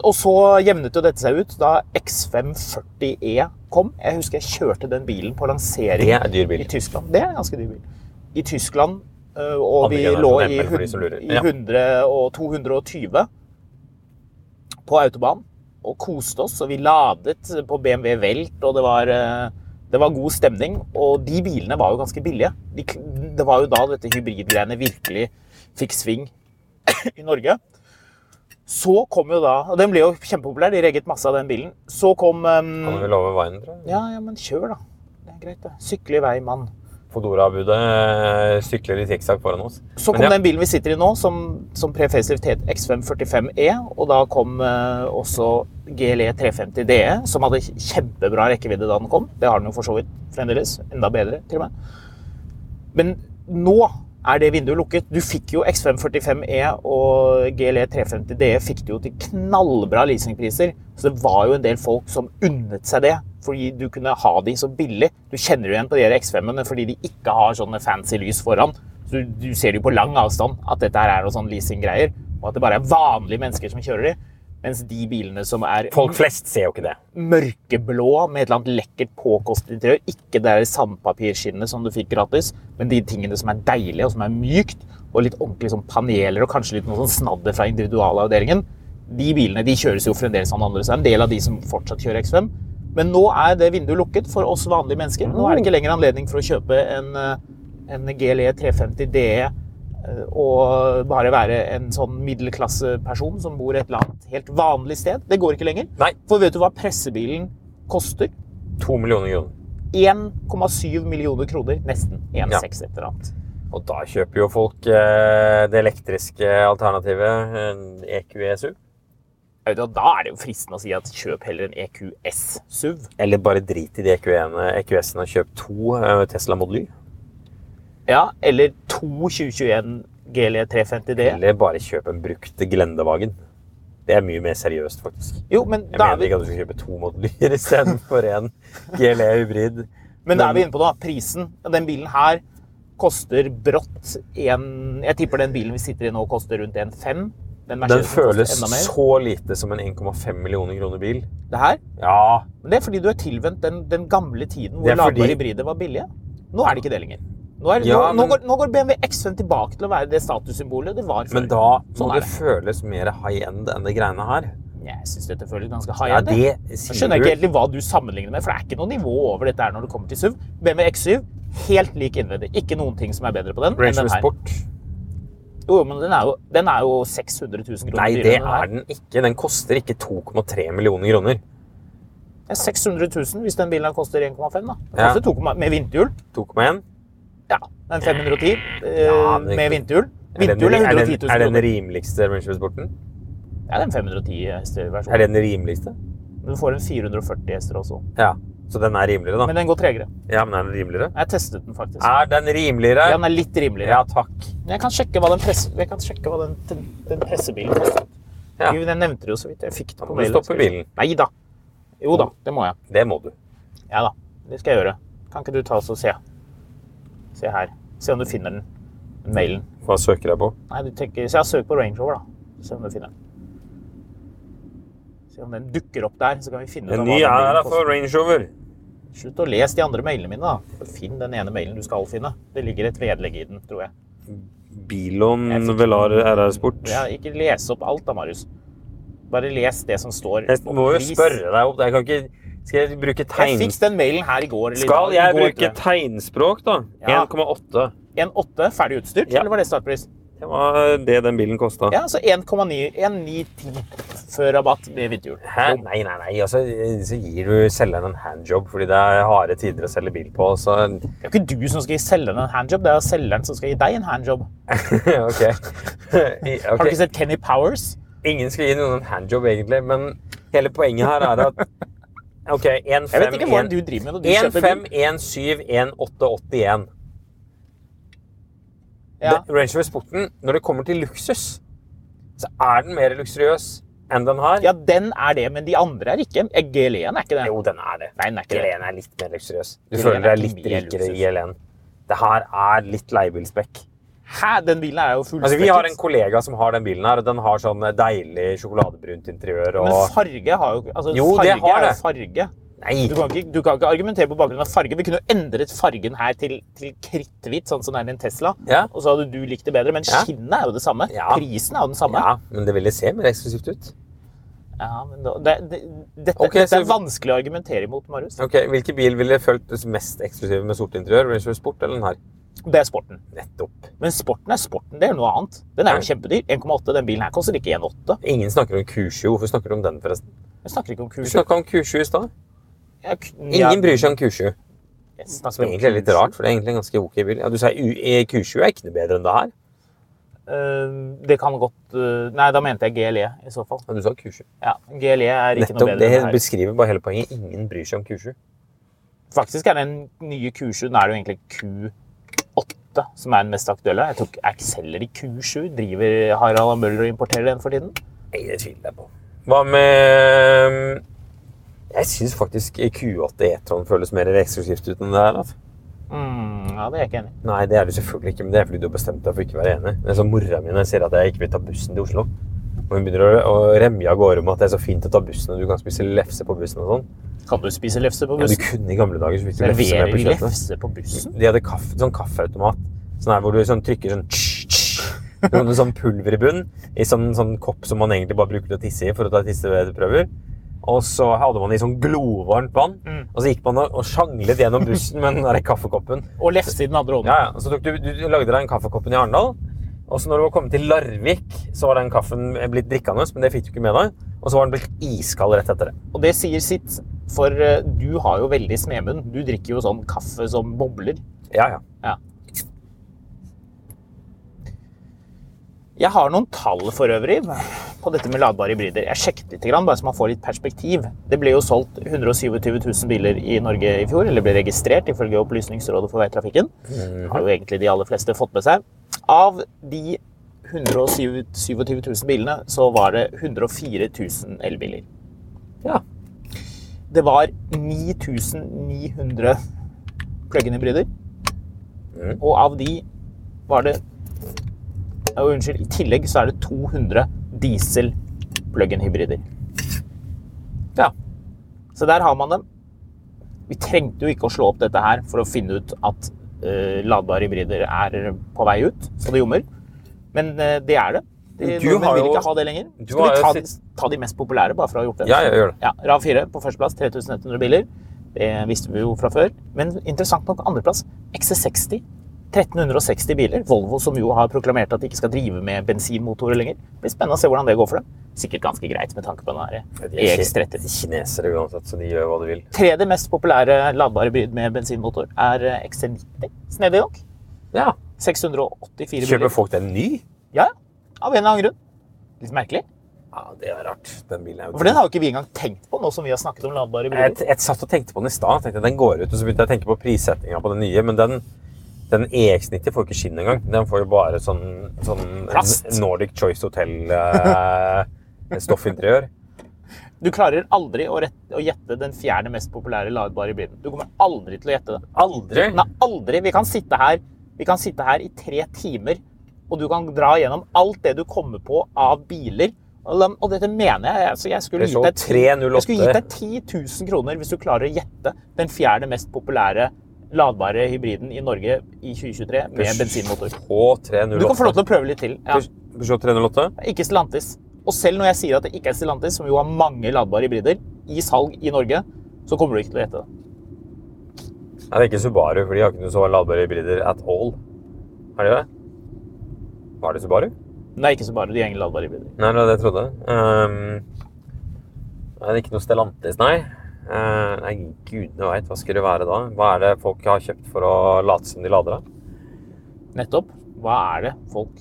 B: Og så jevnet jo dette seg ut da X540E E kom. Jeg husker jeg kjørte den bilen på lansering
C: Det er dyr bil.
B: i Tyskland. Det er en ganske dyr bil. I Tyskland, øh, og
C: Andre
B: vi
C: generasjon
B: lå i,
C: ML for de som lurer.
B: hun- i
C: Ja.
B: 100 og 220 på autobahn og koste oss, og vi ladet på BMW Velt, og det var, øh, det var god stemning. Og de bilene var jo ganske billige. De, kl- det var jo da dette hybridgreiene virkelig fikk sving <coughs> i Norge. Så kom jo da, og den ble jo kjempepopulær, de regget masse av den bilen. Så kom øhm,
C: Kan du vel love veien, tror jeg?
B: Ja, ja, men kjør, da. Det er greit, det. Sykle i vei, mann.
C: Fodora-budet eh, sykler i sikksakk foran oss.
B: Så
C: Men
B: kom
C: ja.
B: den bilen vi sitter i nå, som, som pre-facelift het X545E. Og da kom eh, også E GLE 350 DE, som hadde kjempebra rekkevidde da den kom. Det har den jo for så vidt fremdeles. Enda bedre, til og med. Men nå er det vinduet lukket. Du fikk jo X545E og GLE 350 DE fikk du jo til knallbra leasingpriser. Så det var jo en del folk som unnet seg det. Fordi du kunne ha de så billig. Du kjenner jo igjen på de her X5-ene fordi de ikke har sånne fancy lys foran. Så du, du ser det jo på lang avstand at dette her er noe sånn leasinggreier. Og at det bare er vanlige mennesker som kjører de. Mens de bilene som er
C: Folk flest ser jo ikke det.
B: mørkeblå med et eller annet lekkert påkostet interiør. Ikke det der sandpapirskinnet som du fikk gratis, men de tingene som er deilige og som er mykt, og litt ordentlig sånn paneler og kanskje litt noe sånn snadder fra individualavdelingen. De bilene de kjøres jo fremdeles annerledes. Det er en del av de som fortsatt kjører X5. Men nå er det vinduet lukket for oss vanlige mennesker. Nå er det ikke lenger anledning for å kjøpe en, eh, en GLE 350 DE eh, og bare være en sånn middelklasseperson som bor et eller annet helt vanlig sted. Det går ikke lenger.
C: Nei.
B: For vet du hva pressebilen koster?
C: To millioner kroner.
B: 1,7 millioner kroner. Nesten. 1,6
C: Ja.
B: et eller annet.
C: Og da kjøper jo folk eh, det elektriske alternativet, eh, EQE-SUV.
B: Jeg vet, jo, da er det jo fristende å si at kjøp heller en E EQS SUV.
C: Eller bare drit i de E EQE-ene, EQS-ene og kjøp to eh, Tesla Model Y.
B: Ja, eller to 2021 GLE 350 E D.
C: Eller bare kjøp en brukt Glendevagen. Det er mye mer seriøst, faktisk.
B: Jo, men
C: Jeg
B: da er
C: mener
B: vi,
C: ikke at du skal kjøpe to Model Y istedenfor en GLE hybrid.
B: men da er vi inne på noe. Prisen. Den bilen her koster brått en Jeg tipper den bilen vi sitter i nå, koster rundt en fem. Den,
C: Den
B: Mercedesen koster
C: føles
B: enda mer.
C: så lite som en 1,5 millioner kroner bil.
B: Det her
C: Ja,
B: Men det er fordi du er tilvendt den, den gamle tiden
C: Det
B: hvor
C: er fordi-
B: ladbare hybrider var billige. Nå er det ikke det lenger. Nå, er,
C: Ja,
B: nå, nå,
C: men-
B: går, nå går BMW X5 tilbake til å være det statussymbolet det var før.
C: men da
B: Sånn
C: må
B: er
C: det føles mer high-end enn det greiene her.
B: Jeg syns dette føles ganske high
C: Ja,
B: end. jeg.
C: det
B: Jeg
C: sier
B: skjønner ikke
C: du.
B: egentlig hva du sammenligner med, for det er ikke noe nivå over dette her når det kommer til SUV. BMW X7 helt lik innvendig. Ikke noen ting som er bedre på den enn
C: Range
B: den
C: Rover
B: her.
C: Sport.
B: Jo, men den er jo, den er jo 600 000 kroner
C: Nei,
B: dyrere enn
C: det
B: den her.
C: er den ikke. Den koster ikke 2,3 millioner kroner.
B: Det er 600 000 hvis den bilen her koster 1,5. da. Den
C: Ja.
B: koster 2,1 med vinterhjul.
C: 2,1?
B: Ja, den 510 eh,
C: Ja, men det-
B: med vinterhjul.
C: Er den-
B: Vinterhjul er
C: er
B: 110
C: den-
B: 000
C: Er den
B: kroner.
C: rimeligste Manchester-sporten?
B: Ja, den 510 hester
C: Er
B: versjonen.
C: den rimeligste?
B: Du får en 440 hester også.
C: Ja. Så den er rimeligere, da?
B: Men den går tregere.
C: Ja, men er den rimeligere?
B: Jeg testet den faktisk.
C: Er den
B: Ja,
C: rimeligere?
B: den er litt rimeligere.
C: Ja, takk.
B: Men jeg kan sjekke hva den, presse, jeg kan sjekke hva den, den, den pressebilen kostet.
C: Ja.
B: Jo, Den nevnte det jo så vidt. Jeg fikk det
C: Da
B: på
C: må du
B: mailen.
C: stoppe bilen.
B: Nei da. Jo da, det må jeg.
C: Det må du.
B: Ja da, det skal jeg gjøre. Kan ikke du ta oss og se? Se her. Se om du finner den. Den mailen.
C: Hva søker jeg på?
B: Nei, du tenker, så jeg har søkt på Range Rover, da. Se om du finner den. Se om den dukker opp der, så kan vi finne ut
C: En
B: av
C: ny
B: hva den
C: æra
B: bilen
C: for
B: koster.
C: Range Rover.
B: Slutt å lese de andre mailene mine, da. Finn den ene mailen du skal finne. Det ligger et vedlegg i den, tror jeg.
C: Bilon
B: Jeg fikk-
C: Mm, Velar RR Sport.
B: Ja, ikke lese opp alt da, Marius. Bare les det som står.
C: Jeg må jo
B: Vis.
C: spørre deg opp. Jeg kan ikke Skal jeg bruke
B: Jeg
C: tegn...
B: fikk den mailen her i går. eller i
C: Skal
B: dag. I
C: jeg
B: går,
C: bruke
B: tror jeg.
C: tegnspråk, da?
B: Ja.
C: 1,8.
B: En åtte ferdig utstyrt,
C: Ja.
B: eller var det startpris?
C: Det var det den bilen kosta.
B: Ja, altså 1,910 før rabatt med vinterhjul.
C: Hæ? Nei, nei, nei. Altså, så gir du selgeren en handjob fordi det er harde tider å selge bil på. Så <laughs>
B: Det er jo ikke du som skal gi selgeren en handjob, det er jo selgeren som skal gi deg en handjob.
C: OK. I-
B: Har du
C: ok.
B: ikke sett Kenny Powers?
C: Ingen skal gi noen en handjob, egentlig, men hele poenget her er at OK, 1,5
B: Jeg vet ikke hvordan du driver med når du kjøper bil.
C: 1,5-1,7-1,881.
B: Ja.
C: Det- Range Rover Sporten, når det kommer til luksus, så er den mer luksuriøs enn den her.
B: ja, den er det, men de andre er ikke. GLE-en er ikke det.
C: Jo, den er det.
B: Nei, den er ikke det.
C: GLN er litt mer luksuriøs. Du
B: GLN
C: føler
B: er
C: deg
B: ikke
C: litt
B: mer
C: rikere i
B: luksus.
C: GLN. Det her er litt leiebilspekk.
B: Hæ, den bilen er jo fullspekket.
C: Altså, vi har en kollega som har den bilen her, og den har sånn deilig sjokoladebrunt interiør
B: Men
C: og
B: farge har jo altså,
C: Jo, det
B: farge
C: har
B: er jo
C: det.
B: farge.
C: Nei!
B: Du kan, ikke, du kan ikke argumentere på bakgrunn av farge. Vi kunne jo endret fargen her til, til kritthvitt, sånn som det er i en Tesla.
C: Ja.
B: Og så hadde du likt det bedre, men
C: Ja.
B: skinnet er jo det samme.
C: Ja.
B: Prisen er jo den samme.
C: Ja, men det ville se mer eksklusivt ut.
B: Ja, men da, det, det, dette,
C: Ok,
B: dette er
C: så-
B: vanskelig å argumentere imot, Marius.
C: Ok, Hvilken bil ville føltes mest eksklusiv med sort interiør? Range Rover Sport eller den her?
B: Det er sporten.
C: Nettopp.
B: Men sporten er sporten, det er jo noe annet. Den er jo
C: Ja.
B: kjempedyr. 1,8. Den bilen her koster ikke 1,8.
C: Ingen snakker om Q7. Hvorfor snakker du om den, forresten?
B: Jeg snakker ikke om
C: Du
B: kurser.
C: snakka om Q7 i stad. Ingen
B: Ingen
C: bryr seg om Q7. Som egentlig er litt rart, for det er egentlig en ganske ok bil. Ja, Du sier U- eh, Q7 er ikke noe bedre enn det her.
B: Eh, det kan godt eh, Nei, da mente jeg GLE i så fall.
C: Ja, du sa Q7.
B: Ja, GLE er ikke noe
C: Nettopp.
B: bedre
C: Det
B: enn det her.
C: beskriver bare hele poenget. Ingen bryr seg om Q7.
B: Faktisk er den nye Q7 Den er det jo egentlig Q8 som er den mest aktuelle. Jeg tror ikke er ikke selger i Q7. Driver Harald Møller og importerer den for tiden?
C: Nei, det tviler jeg på. Hva med um, Jeg syns faktisk Q8 E-tron føles mer eksklusivt ut enn det her. Altså.
B: Mm, ja, det er jeg ikke enig i.
C: Nei, det er du selvfølgelig ikke, men det er fordi du har bestemt deg for ikke å være enig. Det er som mora mi når jeg sier at jeg ikke vil ta bussen til Oslo. Og hun begynner å, å remje av gårde om at det er så fint å ta bussen, og du kan spise lefse på bussen og sånn.
B: Kan du spise lefse på
C: Ja, du
B: bussen?
C: kunne i gamle dager, så fikk du lefse
B: Serverer
C: med på
B: de
C: kjøttet.
B: lefse på bussen?
C: De hadde kaffe, sånn kaffeautomat, sånn her hvor du sånn trykker sånn tss, tss. Du hadde sånn pulver i bunn, i sånn, sånn kopp som man egentlig bare bruker til å tisse i for å ta tisseprøver. Og så hadde man det i sånn glovarmt vann,
B: Mm.
C: og så gikk man og og sjanglet gjennom bussen med den der kaffekoppen.
B: Og lefse i den andre hånden.
C: Ja, ja. Så tok du, du lagde deg en kaffekoppen i Arendal. Og så når du var kommet til Larvik, så var den kaffen blitt drikkende, men det fikk du ikke med deg. Og så var den blitt iskald rett etter det.
B: Og det sier sitt, for eh, du har jo veldig smedmunn. Du drikker jo sånn kaffe som bobler.
C: Ja, ja.
B: Jeg har noen tall for øvrig på dette med ladbare hybrider. Jeg sjekket litt, grann, bare så man får litt perspektiv. Det ble jo solgt 127 000 biler i Norge i fjor, eller ble registrert ifølge Opplysningsrådet for veitrafikken. Har jo egentlig de aller fleste fått med seg. Av de 127 000 bilene så var det 104 000 elbiler.
C: Ja.
B: Det var 9900 plug-in-hybrider.
C: Mhm.
B: Og av de var det ja, Unnskyld, i tillegg så er det 200 diesel plug-in-hybrider.
C: Ja.
B: Så der har man dem. Vi trengte jo ikke å slå opp dette her for å finne ut at eh, ladbare hybrider er på vei ut, så det jommer. Men eh, det er det. De,
C: Du
B: nordmenn
C: har
B: vil
C: jo-
B: ikke ha det lenger.
C: du
B: Skal
C: har
B: vi
C: jo
B: ta,
C: sett-
B: de- ta de mest populære, bare for å ha gjort det?
C: Ja, jeg gjør det.
B: Ja, Rav 4 på førsteplass, 3100 biler. Det visste vi jo fra før. Men interessant nok andreplass, XC60 1360 biler. Volvo, som jo har proklamert at de ikke skal drive med bensinmotorer lenger. Det blir spennende å se hvordan det går for dem. Sikkert ganske greit med tanke på den
C: Ja,
B: der
C: de er
B: EX30.
C: De er kinesere uansett, så de gjør hva de vil.
B: Tredje mest populære ladbare hybrid med bensinmotor er eh, XC90. Snedig nok.
C: Ja,
B: 684
C: Kjøper
B: biler.
C: folk den ny?
B: Ja, ja. Av en eller annen grunn. Litt merkelig.
C: Ja, det er rart. Den bilen er jo
B: For den har jo ikke vi engang tenkt på nå som vi har snakket om ladbare
C: jeg,
B: hybrider.
C: jeg satt og tenkte på den i stad. tenkte Den går ut, og så begynte jeg å tenke på prissettinga på den nye. Men den, den EX90 får ikke skinn engang. Den får jo bare sånn, sånn
B: Plast.
C: Nordic Choice eh, <laughs> Hotel-stoffinteriør.
B: Du klarer aldri å, rett, å gjette den fjerde mest populære ladbare hybriden. Du kommer aldri til å gjette det.
C: Aldri!
B: Den er aldri. Vi kan sitte her, vi kan sitte her i tre timer, og du kan dra gjennom alt det du kommer på av biler. Og den- og dette mener jeg. Altså, jeg, skulle gitt
C: Peugeot
B: deg, ti- jeg skulle gitt
C: 308.
B: deg 10 000 kroner hvis du klarer å gjette den fjerde mest populære ladbare hybriden i Norge i 2023 med bensinmotor.
C: Peugeot
B: Du kan få lov
C: 308.
B: til å prøve litt til. Ja.
C: Peugeot 308.
B: Ikke Stellantis. Og selv når jeg sier at det ikke er Stellantis, som jo har mange ladbare hybrider i salg i Norge, så kommer du ikke til å gjette det.
C: Nei, det er ikke Subaru, for de har ikke noe så ladbare hybrider at all. Har de det? Var det Subaru?
B: Men det er ikke så bare de egen ladbare hybrider.
C: Nei, det var det jeg trodde. Ehm, nei, det er ikke noe Stellantis, nei. Eh, nei, gudene veit. Hva skulle det være da? Hva er det folk har kjøpt for å late som de lader? da?
B: Nettopp. Hva er det folk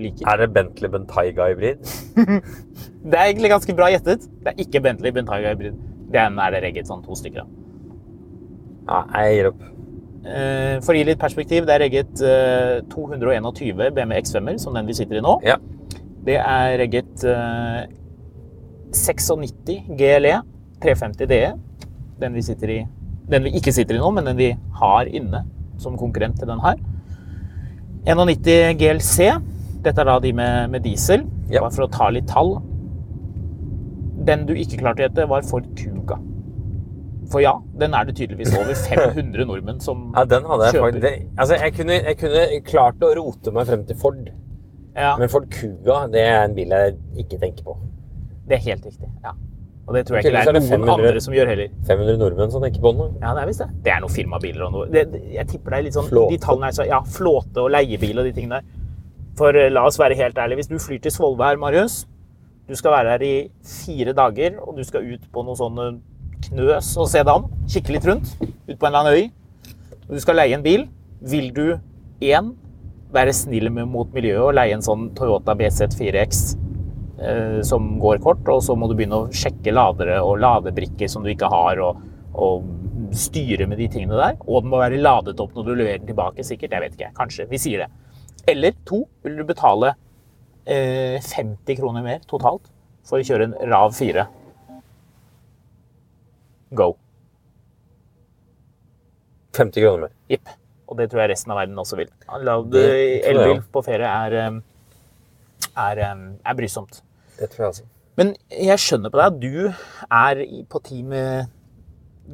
B: liker?
C: Er det Bentley Bentayga hybrid?
B: Det er egentlig ganske bra gjettet. Det er ikke Bentley Bentayga hybrid. Den er det regget sånn to stykker av.
C: Ja, jeg gir opp.
B: Eh, For å gi litt perspektiv, det er regget eh, 221 BMW X5-er, som den vi sitter i nå.
C: Ja.
B: Det er regget eh, 96 GLE 350 DE. E. Den vi, sitter i, den vi ikke sitter i nå, men den vi har inne som konkurrent til den her. 91 GLC. Dette er da de med, med diesel.
C: Ja.
B: Bare for å ta litt tall. Den du ikke klarte å gjette, var Ford Kuga. For ja, den er det
C: <laughs>
B: tydeligvis over 500 nordmenn som
C: Ja, den hadde jeg
B: Kjøper.
C: faktisk det- Altså, jeg kunne, jeg kunne klart å rote meg frem til Ford.
B: Ja,
C: Men Ford Kuga, det er en bil jeg ikke tenker på.
B: det er helt riktig. Ja. Og det tror jeg
C: Ok,
B: ikke
C: så
B: det
C: er det
B: er noen
C: 500.
B: andre som gjør heller.
C: 500 nordmenn som tenker på den. da.
B: Ja, det er visst det. Det er noen firmabiler og noe. Det, det, jeg tipper det er litt sånn
C: Flåte.
B: De tallene er så Ja, flåte og leiebil og de tingene der. For eh, la oss være helt ærlige. Hvis du flyr til Svolve her, Marius Du skal være her i fire dager, og du skal ut på noe sånn eh, knøs og se deg om. Kikke litt rundt. Ut på en eller annen øy. Og du skal leie en bil. Vil du én være snill med, mot miljøet og leie en sånn Toyota BZ4X eh, som går kort, og så må du begynne å sjekke ladere og ladebrikker som du ikke har, og, og styre med de tingene der. Og den må være ladet opp når du leverer den tilbake, sikkert. Jeg vet ikke. Kanskje. Vi sier det. Eller to, vil du betale eh, 50 kroner mer totalt for å kjøre en RAV 4. Go.
C: 50 kroner mer.
B: Jipp. Og det tror jeg resten av verden også vil. Lad-
C: Det tror jeg
B: Elbil
C: også.
B: på ferie er, eh, er, eh, er brysomt.
C: Det tror jeg altså.
B: Men jeg skjønner på deg at du er i- på team eh,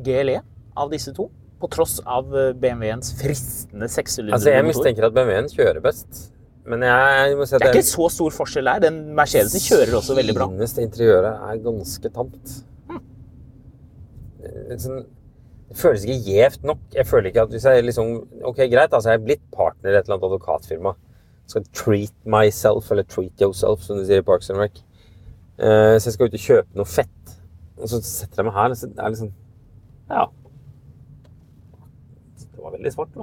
B: GLE av disse to. På tross av eh, BMW-ens fristende
C: Altså, jeg
B: sekssylindrermotor.
C: mistenker at BMW-en kjører best. Men jeg må si at
B: Det er
C: jeg-
B: ikke så stor forskjell der. Den Mercedesen kjører også veldig bra. Hmm.
C: Fineste interiøret er ganske tamt. Litt sånn, det føles ikke gjevt nok. Jeg føler ikke at hvis jeg liksom Ok, greit, altså jeg er blitt partner i et eller annet advokatfirma. Skal treat myself, eller treat yourself, som de sier i Parks and Rec. Eh, så jeg skal ut og kjøpe noe fett. Og så setter jeg meg her, og så er det liksom Ja. Det var veldig svart, da.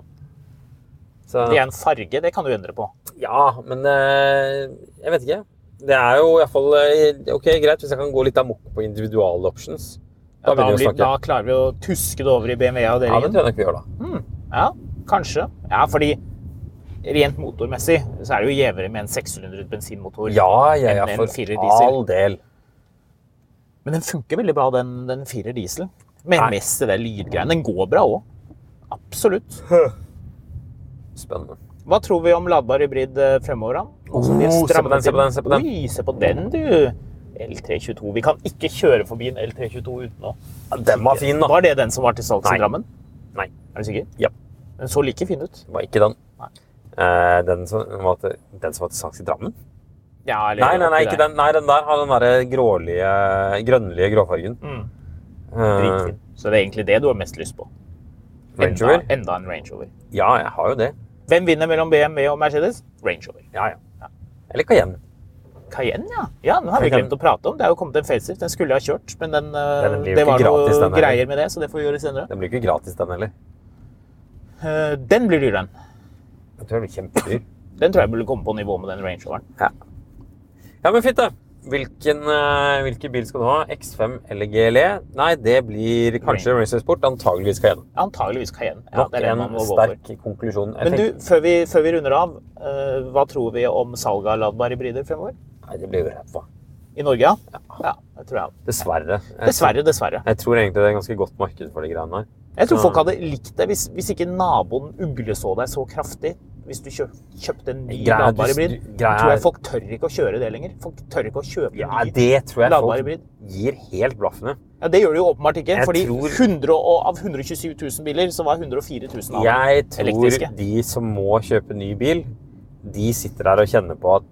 C: Så-
B: Det er en farge, det kan du endre på.
C: ja, men eh, jeg vet ikke. Det er jo iallfall eh, Ok, greit hvis jeg kan gå litt amok på individuale options. Da
B: Da,
C: begynner vi
B: blir,
C: å snakke.
B: da klarer vi å tuske det over i
C: Ja, det
B: BMW-avdelingen.
C: tror jeg nok vi gjør, da.
B: Ja, kanskje. Ja, fordi rent motormessig så er det jo gjevere med en sekssylindret bensinmotor.
C: Ja, ja, ja,
B: En- en firer
C: for
B: diesel.
C: all del.
B: Men den funker veldig bra, den, den firer diesel. Men
C: Nei.
B: mest det der lydgreiene. Den går bra òg. Absolutt.
C: Spennende.
B: Hva tror vi om ladbar hybrid eh, fremover, da? Nå som de
C: Oh, se på
B: strammer
C: den, se på
B: til-
C: den, se på den.
B: Oi, se på den, du. L322. Vi kan ikke kjøre forbi en L322 uten å
C: Ja, den var fin, da.
B: Var det den som var til salgs i
C: Nei.
B: Drammen?
C: Nei,
B: Er du sikker?
C: Ja.
B: Den så like fin ut.
C: det var ikke den.
B: Nei.
C: Eh, den, som var til, den som var til salgs i Drammen?
B: Ja, eller
C: Nei, nei, nei,
B: oppi
C: ikke
B: der.
C: den. Nei, den der har den derre grålige, grønnlige gråfargen.
B: Mm.
C: Eh,
B: Dritfin. Så det er egentlig det du har mest lyst på.
C: Range Rover?
B: Enda, enda en Range Rover.
C: Ja, jeg har jo det.
B: Hvem vinner mellom BMW og Mercedes? Range Rover.
C: Ja, ja. Eller Cayenne.
B: Cayenne, ja. Ja, Den har vi
C: Cayenne.
B: glemt å prate om. Det er jo kommet en facelift. Den skulle jeg ha kjørt, men den, eh,
C: Den blir jo
B: det
C: ikke
B: var
C: gratis,
B: noe
C: den her.
B: greier med det, så det får vi gjøre senere.
C: Den blir ikke gratis, den heller.
B: Eh, Den blir dyr, den.
C: Jeg tror den blir kjempedyr. <laughs>
B: Den tror jeg burde komme på nivå med den Range Roveren.
C: Ja. ja, men fint, da. Hvilken, eh, hvilken bil skal du ha? X5 eller GLE? E? Nei, det blir kanskje Racer Sport. Antageligvis Cayenne.
B: Antageligvis Cayenne. Ja,
C: Nok
B: det er det
C: en
B: man må gå for.
C: sterk konklusjon. Jeg
B: Men du,
C: tenker-
B: før vi, før vi runder av, eh, hva tror vi om salget av ladbare hybrider fremover?
C: Nei, det blir jo ræva.
B: I Norge, ja? Ja, det tror jeg.
C: Dessverre. Jeg-
B: Dessverre, dessverre.
C: Jeg tror egentlig det er ganske godt marked for de greiene her.
B: Jeg tror
C: Så-
B: folk hadde likt det hvis, hvis ikke naboen ugleså deg så kraftig. Hvis du kjøp, kjøpte en ny
C: Greia er at du-
B: ladbar hybrid.
C: du- greia
B: Tror
C: er-
B: jeg folk tør ikke å kjøre det lenger. Folk tør ikke å kjøpe
C: Ja,
B: en ny.
C: det tror jeg
B: Ladbar
C: folk
B: hybrid.
C: gir helt blaffen i.
B: Ja, det gjør de jo åpenbart ikke.
C: Jeg
B: fordi
C: tror-
B: 100 og, av 127 000 biler, så var 104 000 av dem
C: Jeg tror
B: elektriske.
C: de som må kjøpe ny bil, de sitter der og kjenner på at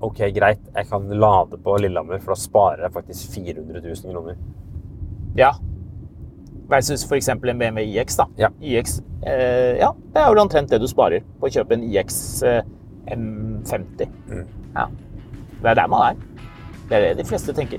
C: ok, greit, jeg kan lade på Lillehammer, for da sparer jeg faktisk 400 000 kroner.
B: Ja. Versus for eksempel en BMW iX, da.
C: Ja.
B: iX, eh, ja, det er jo omtrent det du sparer på å kjøpe en iX eh, M50. Ja. Det er der man er. Det er det de fleste tenker.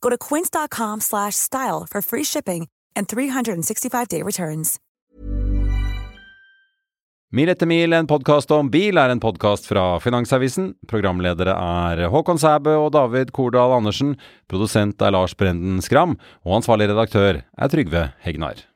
D: Go to quince.com/style slash style for free shipping and 365-day returns.
E: Mil etter mil, en podkast om bil, er en podkast fra Finansavisen. Programledere er Håkon Sæbø og David Kordal Andersen. Produsent er Lars Brenden Skram. Og ansvarlig redaktør er Trygve Hegnar.